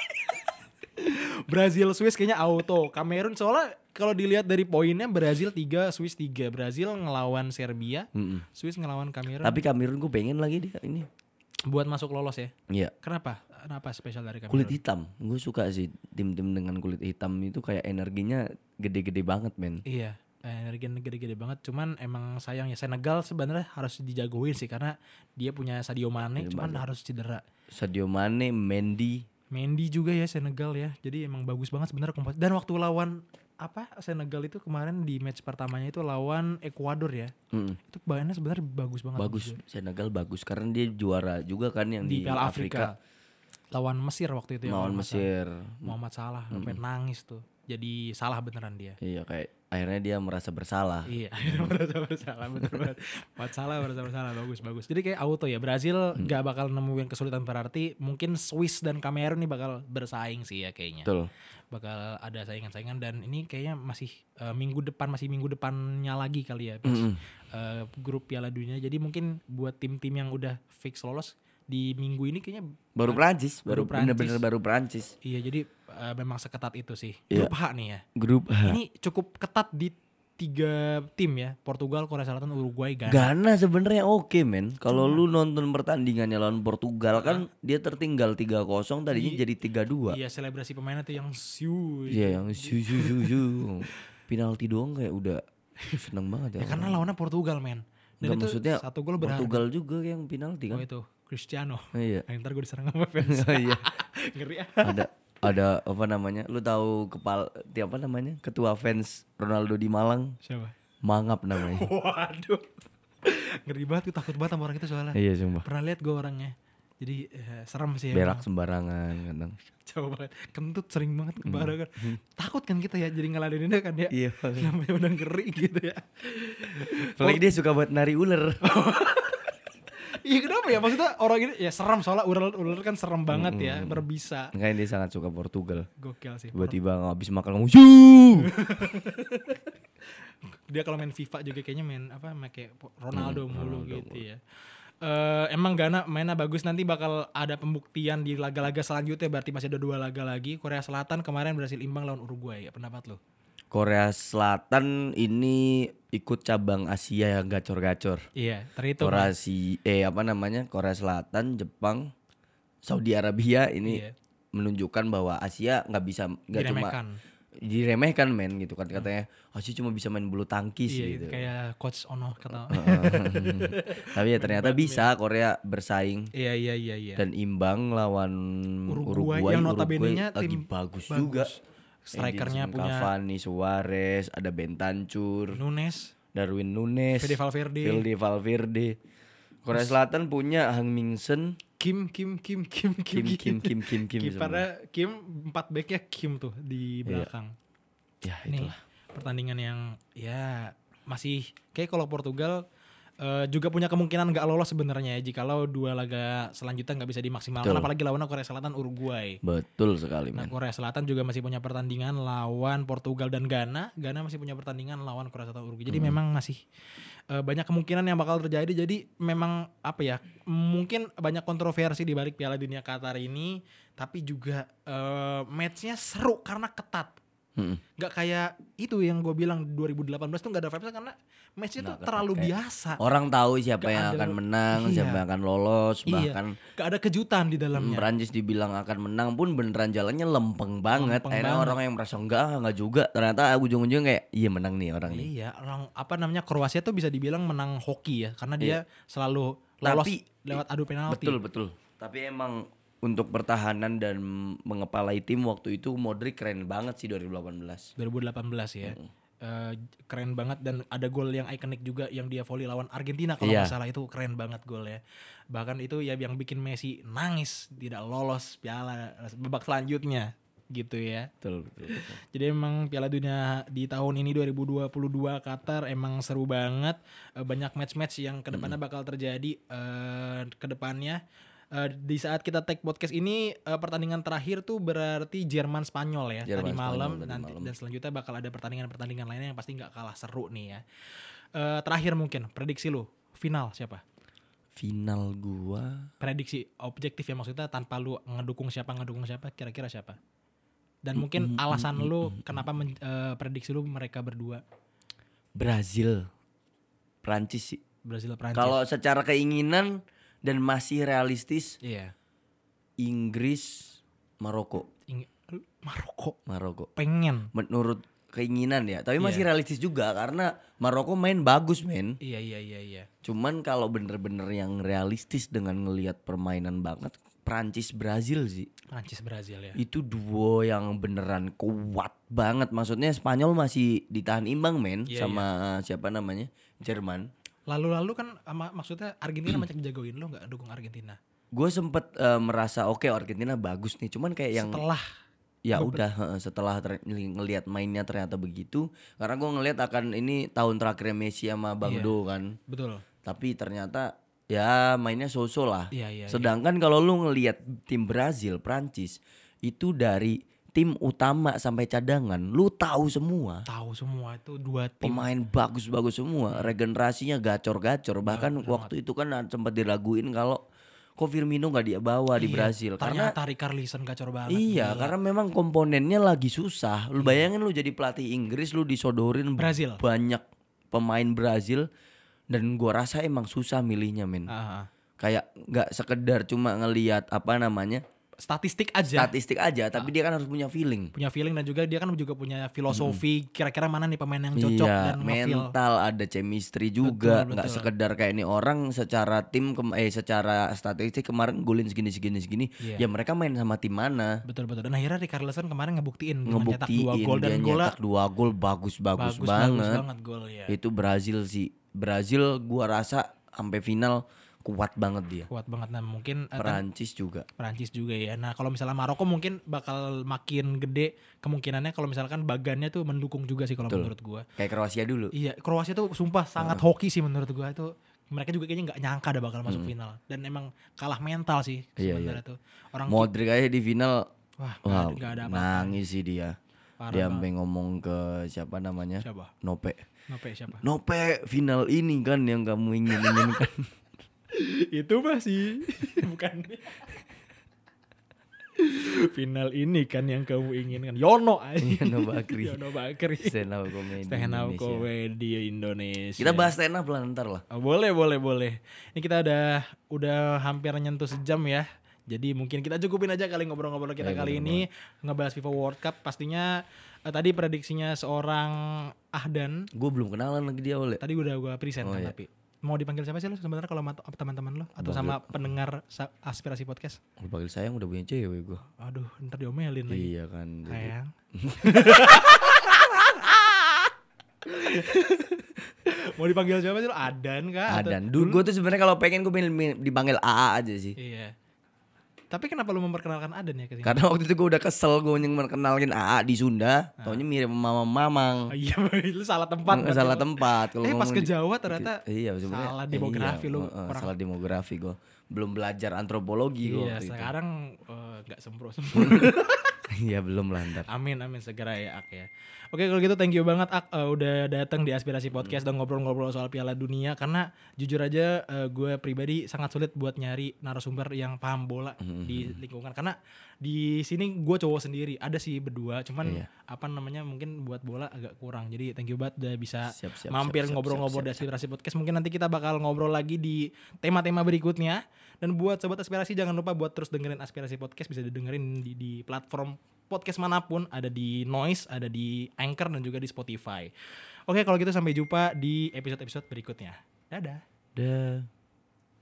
[SPEAKER 2] Brazil Swiss kayaknya auto. Kamerun soalnya kalau dilihat dari poinnya Brazil 3, Swiss 3. Brazil ngelawan Serbia,
[SPEAKER 3] Mm-mm.
[SPEAKER 2] Swiss ngelawan Kamerun
[SPEAKER 3] Tapi Kamerun gue pengen lagi dia ini.
[SPEAKER 2] buat masuk lolos ya.
[SPEAKER 3] Iya.
[SPEAKER 2] Kenapa? Kenapa spesial dari Kamerun?
[SPEAKER 3] Kulit hitam. Gue suka sih tim-tim dengan kulit hitam itu kayak energinya gede-gede banget, men.
[SPEAKER 2] Iya, energi gede-gede banget. Cuman emang sayang ya Senegal sebenarnya harus dijagoin sih karena dia punya Sadio Mane, cuman harus cedera.
[SPEAKER 3] Sadio Mane, Mendy,
[SPEAKER 2] Mendy juga ya Senegal ya. Jadi emang bagus banget sebenarnya komposisi. Dan waktu lawan apa Senegal itu kemarin di match pertamanya itu lawan Ekuador ya.
[SPEAKER 3] Mm-mm.
[SPEAKER 2] Itu bahannya sebenarnya bagus banget.
[SPEAKER 3] bagus. Senegal bagus karena dia juara juga kan yang
[SPEAKER 2] di
[SPEAKER 3] di,
[SPEAKER 2] Piala
[SPEAKER 3] Afrika,
[SPEAKER 2] Afrika. Lawan Mesir waktu itu ya. kalau
[SPEAKER 3] lawan
[SPEAKER 2] nggak salah.
[SPEAKER 3] Mesir.
[SPEAKER 2] Muhammad Salah sampai nangis tuh. Jadi salah beneran dia.
[SPEAKER 3] Iya kayak akhirnya dia merasa bersalah.
[SPEAKER 2] Iya, merasa bersalah betul banget. Buat salah merasa bersalah bagus bagus. Jadi kayak auto ya Brazil
[SPEAKER 3] Hmm.
[SPEAKER 2] nggak bakal nemuin kesulitan berarti. Mungkin Swiss dan Kamerun nih bakal bersaing sih ya kayaknya.
[SPEAKER 3] Betul.
[SPEAKER 2] Bakal ada saingan-saingan dan ini kayaknya masih eh, minggu depan masih minggu depannya lagi kali ya pas
[SPEAKER 3] Mm-mm.
[SPEAKER 2] eh, grup Piala Dunia. Jadi mungkin buat tim-tim yang udah fix lolos di minggu ini kayaknya
[SPEAKER 3] Baru Prancis,
[SPEAKER 2] Baru
[SPEAKER 3] baru
[SPEAKER 2] Prancis.
[SPEAKER 3] bener-bener baru Prancis.
[SPEAKER 2] iya jadi eh, memang seketat itu sih.
[SPEAKER 3] Iya.
[SPEAKER 2] Grup H nih ya.
[SPEAKER 3] Grup H.
[SPEAKER 2] Ini cukup ketat di tiga tim ya. Portugal, Korea Selatan, Uruguay, Ghana.
[SPEAKER 3] Ghana sebenarnya oke men.
[SPEAKER 2] Iya.
[SPEAKER 3] Kalau lu nonton pertandingannya lawan Portugal kan dia tertinggal 3-0 tadinya jadi 3-2. Iya
[SPEAKER 2] Iya selebrasi pemainnya tuh yang siu.
[SPEAKER 3] yang su su su su. Penalti doang kayak udah seneng banget ya.
[SPEAKER 2] Ya karena lawannya Portugal men. Dan
[SPEAKER 3] Nggak,
[SPEAKER 2] itu
[SPEAKER 3] maksudnya
[SPEAKER 2] satu gol berharga.
[SPEAKER 3] Portugal juga yang penalti
[SPEAKER 2] Oh
[SPEAKER 3] kan.
[SPEAKER 2] itu Cristiano.
[SPEAKER 3] Iya.
[SPEAKER 2] Nah, ntar gue diserang sama fans.
[SPEAKER 3] Iya.
[SPEAKER 2] Ngeri ah.
[SPEAKER 3] ada ada apa namanya? Lu tahu kepala apa namanya? Ketua fans Ronaldo di Malang,
[SPEAKER 2] Siapa?
[SPEAKER 3] Mangap namanya.
[SPEAKER 2] Waduh. Ngeri banget gue takut banget sama orang itu soalnya.
[SPEAKER 3] iya sumpah.
[SPEAKER 2] Pernah lihat gue orangnya. Jadi eh, serem sih
[SPEAKER 3] Berak sembarangan kadang.
[SPEAKER 2] Coba banget. Kentut sering banget kebarangan. Takut kan kita ya jadi ngeladeninnya kan ya.
[SPEAKER 3] Hmm. Iya.
[SPEAKER 2] Namanya udah ngeri gitu ya.
[SPEAKER 3] Apalagi dia suka buat nari ular.
[SPEAKER 2] Iya kenapa ya maksudnya orang ini ya serem soalnya ular-ular kan serem banget ya
[SPEAKER 3] Hmm.
[SPEAKER 2] berbisa.
[SPEAKER 3] Makanya dia sangat suka Portugal.
[SPEAKER 2] Gokil sih.
[SPEAKER 3] Tiba-tiba habis makan ngomong "Yuh!"
[SPEAKER 2] dia kalau main FIFA juga kayaknya main apa pakai Ronaldo
[SPEAKER 3] Hmm,
[SPEAKER 2] mulu gitu ya. Eh, emang Ghana mainnya bagus nanti bakal ada pembuktian di laga-laga selanjutnya berarti masih ada dua laga lagi. Korea Selatan kemarin berhasil imbang lawan Uruguay. Ya, pendapat lo?
[SPEAKER 3] Korea Selatan ini ikut cabang Asia yang gacor-gacor.
[SPEAKER 2] Iya, terhitung.
[SPEAKER 3] Korea si eh apa namanya? Korea Selatan, Jepang, Saudi Arabia ini
[SPEAKER 2] Iya.
[SPEAKER 3] menunjukkan bahwa Asia nggak bisa nggak cuma
[SPEAKER 2] Diremehkan.
[SPEAKER 3] diremehkan men gitu kan katanya Asia cuma bisa main bulu tangkis
[SPEAKER 2] Iya,
[SPEAKER 3] gitu.
[SPEAKER 2] kayak coach Ono kata.
[SPEAKER 3] Tapi ya ternyata bisa Korea bersaing
[SPEAKER 2] iya, iya, iya, iya.
[SPEAKER 3] dan imbang lawan
[SPEAKER 2] Uruguay
[SPEAKER 3] Uruguay,
[SPEAKER 2] yang
[SPEAKER 3] Uruguay
[SPEAKER 2] notabene-nya
[SPEAKER 3] lagi
[SPEAKER 2] tim
[SPEAKER 3] bagus,
[SPEAKER 2] bagus.
[SPEAKER 3] juga.
[SPEAKER 2] Strikernya
[SPEAKER 3] Edinson
[SPEAKER 2] punya
[SPEAKER 3] Cavani, Suarez, ada Bentancur,
[SPEAKER 2] Nunes,
[SPEAKER 3] Darwin Nunes,
[SPEAKER 2] Fede Valverde.
[SPEAKER 3] Fede Valverde. Korea Selatan punya Hang Mingsen,
[SPEAKER 2] Kim Kim Kim Kim Kim
[SPEAKER 3] Kim Kim Kim Kim Kim. semua. Iya.
[SPEAKER 2] Kipernya Kim empat backnya Kim tuh di belakang.
[SPEAKER 3] Ya
[SPEAKER 2] Nih,
[SPEAKER 3] itulah.
[SPEAKER 2] pertandingan yang ya masih kayak kalau Portugal eh, juga punya kemungkinan nggak lolos sebenarnya ya jikalau dua laga selanjutnya nggak bisa dimaksimalkan
[SPEAKER 3] Betul.
[SPEAKER 2] apalagi lawannya Korea Selatan Uruguay.
[SPEAKER 3] Betul sekali
[SPEAKER 2] Nah,
[SPEAKER 3] men.
[SPEAKER 2] Korea Selatan juga masih punya pertandingan lawan Portugal dan Ghana. Ghana masih punya pertandingan lawan Korea Selatan Uruguay.
[SPEAKER 3] Hmm.
[SPEAKER 2] Jadi memang masih eh, banyak kemungkinan yang bakal terjadi. Jadi memang apa ya? Mungkin banyak kontroversi di balik Piala Dunia Qatar ini, tapi juga eh, matchnya seru karena ketat.
[SPEAKER 3] Mm-mm.
[SPEAKER 2] Gak kayak itu yang gue bilang 2018 tuh gak ada vibes karena matchnya tuh
[SPEAKER 3] Nggak ketat
[SPEAKER 2] terlalu
[SPEAKER 3] kayak-
[SPEAKER 2] biasa.
[SPEAKER 3] Orang tahu
[SPEAKER 2] Ah,
[SPEAKER 3] siapa
[SPEAKER 2] Nggak
[SPEAKER 3] yang
[SPEAKER 2] ada
[SPEAKER 3] akan
[SPEAKER 2] lo-
[SPEAKER 3] menang,
[SPEAKER 2] Iya.
[SPEAKER 3] siapa yang akan lolos,
[SPEAKER 2] Iya.
[SPEAKER 3] bahkan
[SPEAKER 2] Gak ada kejutan di dalamnya.
[SPEAKER 3] Perancis dibilang akan menang pun beneran jalannya lempeng banget.
[SPEAKER 2] Lempeng
[SPEAKER 3] Akhirnya
[SPEAKER 2] banget.
[SPEAKER 3] orang yang merasa enggak ah, enggak juga. Ternyata ujung-ujungnya kayak iya menang nih orang nih.
[SPEAKER 2] Iya, orang apa namanya Kroasia tuh bisa dibilang menang hoki ya karena dia selalu lolos
[SPEAKER 3] Iya. Tapi-
[SPEAKER 2] lewat adu penalti.
[SPEAKER 3] Betul betul. Tapi emang untuk pertahanan dan mengepalai tim waktu itu Modric keren banget sih 2018.
[SPEAKER 2] 2018 ya. Eh, keren banget dan ada gol yang ikonik juga yang dia volley lawan Argentina kalau nggak
[SPEAKER 3] Iya.
[SPEAKER 2] salah itu keren banget golnya. Bahkan itu ya yang bikin Messi nangis tidak lolos piala babak selanjutnya gitu ya.
[SPEAKER 3] Betul betul. betul.
[SPEAKER 2] Jadi emang Piala Dunia di tahun ini 2022 Qatar emang seru banget. Eh, Banyak match-match yang kedepannya bakal terjadi eh, kedepannya. Eh, di saat kita take podcast ini eh, pertandingan terakhir tuh berarti Jerman Spanyol ya tadi
[SPEAKER 3] Jerman, Spanyol
[SPEAKER 2] malam
[SPEAKER 3] tadi
[SPEAKER 2] nanti
[SPEAKER 3] malam.
[SPEAKER 2] dan selanjutnya bakal ada pertandingan-pertandingan lainnya yang pasti nggak kalah seru nih ya. Eh, terakhir mungkin prediksi lu final siapa?
[SPEAKER 3] Final gua
[SPEAKER 2] Prediksi objektif ya maksudnya tanpa lu ngedukung siapa ngedukung siapa kira-kira siapa? Dan mungkin alasan lu kenapa men- eh, prediksi lu mereka berdua
[SPEAKER 3] Brazil. Prancis sih.
[SPEAKER 2] Brazil Prancis.
[SPEAKER 3] Kalau secara keinginan dan masih realistis
[SPEAKER 2] iya.
[SPEAKER 3] Inggris, Maroko,
[SPEAKER 2] Ing- lu Maroko
[SPEAKER 3] Maroko.
[SPEAKER 2] pengen.
[SPEAKER 3] Menurut keinginan ya, tapi masih realistis juga karena Maroko main bagus, men.
[SPEAKER 2] Iya iya iya iya.
[SPEAKER 3] Cuman kalau bener-bener yang realistis dengan ngelihat permainan banget Prancis Brazil sih.
[SPEAKER 2] Prancis Brazil ya.
[SPEAKER 3] Itu duo yang beneran kuat banget. Maksudnya Spanyol masih ditahan imbang, men,
[SPEAKER 2] Iya,
[SPEAKER 3] sama siapa namanya? Jerman.
[SPEAKER 2] Lalu-lalu kan ama- maksudnya Argentina macam jagoin lu nggak dukung Argentina.
[SPEAKER 3] Gue sempet eh, merasa oke Argentina bagus nih, cuman kayak yang
[SPEAKER 2] Setelah
[SPEAKER 3] ya udah heeh, setelah ter- ngeli- ngelihat mainnya ternyata begitu. Karena gue ngelihat akan ini tahun terakhir Messi sama Bang
[SPEAKER 2] Iya.
[SPEAKER 3] Do kan.
[SPEAKER 2] betul.
[SPEAKER 3] Tapi ternyata ya mainnya so-so lah.
[SPEAKER 2] Iya iya. iya.
[SPEAKER 3] Sedangkan kalau lu ngelihat tim Brazil, Prancis itu dari tim utama sampai cadangan, lu tahu semua.
[SPEAKER 2] Tahu semua itu dua tim
[SPEAKER 3] Pemain bagus-bagus semua, regenerasinya gacor-gacor. Bahkan waktu itu kan sempat diraguin kalau kok Firmino nggak dia bawa di
[SPEAKER 2] Iya,
[SPEAKER 3] Brazil karena
[SPEAKER 2] Ternyata Ricarlison gacor banget.
[SPEAKER 3] Iya,
[SPEAKER 2] Gila.
[SPEAKER 3] karena memang komponennya lagi susah.
[SPEAKER 2] Iya.
[SPEAKER 3] Lu bayangin lu jadi pelatih Inggris lu disodorin
[SPEAKER 2] Brazil.
[SPEAKER 3] banyak pemain Brazil dan gua rasa emang susah milihnya, men.
[SPEAKER 2] Ah, ah.
[SPEAKER 3] Kayak nggak sekedar cuma ngelihat apa namanya?
[SPEAKER 2] statistik aja.
[SPEAKER 3] statistik
[SPEAKER 2] Ah.
[SPEAKER 3] aja, tapi dia kan harus punya feeling.
[SPEAKER 2] punya feeling dan juga dia kan juga punya filosofi kira-kira mana nih pemain yang cocok
[SPEAKER 3] iya,
[SPEAKER 2] dan nge-feel.
[SPEAKER 3] mental ada chemistry juga,
[SPEAKER 2] Betul,
[SPEAKER 3] nggak
[SPEAKER 2] betul.
[SPEAKER 3] sekedar kayak ini orang secara tim kem- eh secara statistik kemarin golin segini segini segini.
[SPEAKER 2] Iya.
[SPEAKER 3] Ya mereka main sama tim mana?
[SPEAKER 2] Betul betul. Dan akhirnya Ricarlison kemarin ngebuktiin dengan nyetak
[SPEAKER 3] Ngebuktiin
[SPEAKER 2] dua gol dan
[SPEAKER 3] dia
[SPEAKER 2] golnya
[SPEAKER 3] nyetak dua gol bagus-bagus
[SPEAKER 2] bagus bagus
[SPEAKER 3] banget. Iya.
[SPEAKER 2] banget gol ya.
[SPEAKER 3] itu Brazil sih Brazil gua rasa sampai final kuat banget dia
[SPEAKER 2] Kuat banget nah mungkin eh, tan-
[SPEAKER 3] Perancis juga
[SPEAKER 2] Perancis juga ya. Nah kalau misalnya Maroko mungkin bakal makin gede kemungkinannya kalau misalkan bagannya tuh mendukung juga sih kalau
[SPEAKER 3] Betul.
[SPEAKER 2] menurut gua.
[SPEAKER 3] kayak Kroasia dulu
[SPEAKER 2] Iya, Kroasia tuh sumpah sangat hoki sih menurut gua itu. Mereka juga kayaknya nggak nyangka ada bakal masuk final dan emang kalah mental sih
[SPEAKER 3] Iya,
[SPEAKER 2] sebenarnya tuh. Orang
[SPEAKER 3] Modric aja di final
[SPEAKER 2] wah nggak
[SPEAKER 3] wah
[SPEAKER 2] ada- nggak ada apa-apa.
[SPEAKER 3] nangis sih dia
[SPEAKER 2] Parah
[SPEAKER 3] dia sampai ngomong ke siapa namanya
[SPEAKER 2] Siapa?
[SPEAKER 3] Nope
[SPEAKER 2] Nope siapa?
[SPEAKER 3] Nope final ini kan yang kamu ingin inginkan
[SPEAKER 2] itu masih bukan final ini kan yang kamu inginkan. Yono aja.
[SPEAKER 3] Iya, Yono Bakri
[SPEAKER 2] Yono Bakri.
[SPEAKER 3] ya, stand up comedy
[SPEAKER 2] Ya, Stand up
[SPEAKER 3] Indonesia.
[SPEAKER 2] comedy Iya. Indonesia.
[SPEAKER 3] kita bahas stand up lah ntar lah
[SPEAKER 2] Oh, boleh, boleh, boleh. Ini kita udah udah hampir nyentuh sejam ya. Jadi mungkin kita cukupin aja kali ngobrol-ngobrol kita
[SPEAKER 3] Iya,
[SPEAKER 2] kali ini
[SPEAKER 3] bener
[SPEAKER 2] ngebahas FIFA World Cup. Pastinya eh, tadi prediksinya seorang Ahdan.
[SPEAKER 3] gue belum kenalan lagi dia oleh
[SPEAKER 2] Tadi udah gua present
[SPEAKER 3] Oh,
[SPEAKER 2] kan
[SPEAKER 3] iya.
[SPEAKER 2] tapi mau dipanggil siapa sih lu sebenarnya kalau sama t- teman-teman lu atau sama pendengar sa- aspirasi podcast?
[SPEAKER 3] Lu panggil sayang udah punya cewek gue
[SPEAKER 2] Aduh, ntar diomelin lagi.
[SPEAKER 3] iya kan jadi-
[SPEAKER 2] Sayang. mau dipanggil siapa sih lu? Adan kah? Atau-
[SPEAKER 3] Adan. Dulu gue tuh sebenarnya kalau pengen gue pengen mi- dipanggil AA aja sih.
[SPEAKER 2] Iya. Tapi kenapa lu memperkenalkan Adan ya ke sini?
[SPEAKER 3] Karena waktu itu gue udah kesel gue yang mengenalin AA di Sunda, taunya mirip mama mamang.
[SPEAKER 2] Oh, iya, lu salah Ah. tempat.
[SPEAKER 3] Nggak
[SPEAKER 2] berarti
[SPEAKER 3] salah
[SPEAKER 2] lu.
[SPEAKER 3] tempat.
[SPEAKER 2] Eh, pas
[SPEAKER 3] ngomong
[SPEAKER 2] ke
[SPEAKER 3] di-
[SPEAKER 2] Jawa ternyata
[SPEAKER 3] iya, sebenarnya-
[SPEAKER 2] salah demografi
[SPEAKER 3] iya,
[SPEAKER 2] lu
[SPEAKER 3] heeh,
[SPEAKER 2] kurang.
[SPEAKER 3] salah demografi gue. Belum belajar antropologi gue
[SPEAKER 2] Iya,
[SPEAKER 3] waktu itu.
[SPEAKER 2] sekarang eh, nggak sempro sempro.
[SPEAKER 3] Iya belum lah ntar.
[SPEAKER 2] amin, amin segera ya Ak ya. Oke kalau gitu thank you banget Ak eh, udah datang di Aspirasi Podcast dan ngobrol-ngobrol soal Piala Dunia karena jujur aja eh, gue pribadi sangat sulit buat nyari narasumber yang paham bola di lingkungan karena di sini gue cowok sendiri ada sih berdua cuman
[SPEAKER 3] Iya.
[SPEAKER 2] apa namanya mungkin buat bola agak kurang jadi thank you banget udah bisa
[SPEAKER 3] Siap, siap,
[SPEAKER 2] mampir
[SPEAKER 3] siap, siap,
[SPEAKER 2] ngobrol-ngobrol
[SPEAKER 3] siap,
[SPEAKER 2] di Aspirasi Podcast. Mungkin nanti kita bakal ngobrol lagi di tema-tema berikutnya. Dan buat sobat aspirasi jangan lupa buat terus dengerin Aspirasi Podcast bisa didengerin di, di platform podcast manapun, ada di Noise, ada di Anchor dan juga di Spotify. Oke, kalau gitu sampai jumpa di episode-episode berikutnya. Dadah.
[SPEAKER 3] Dah.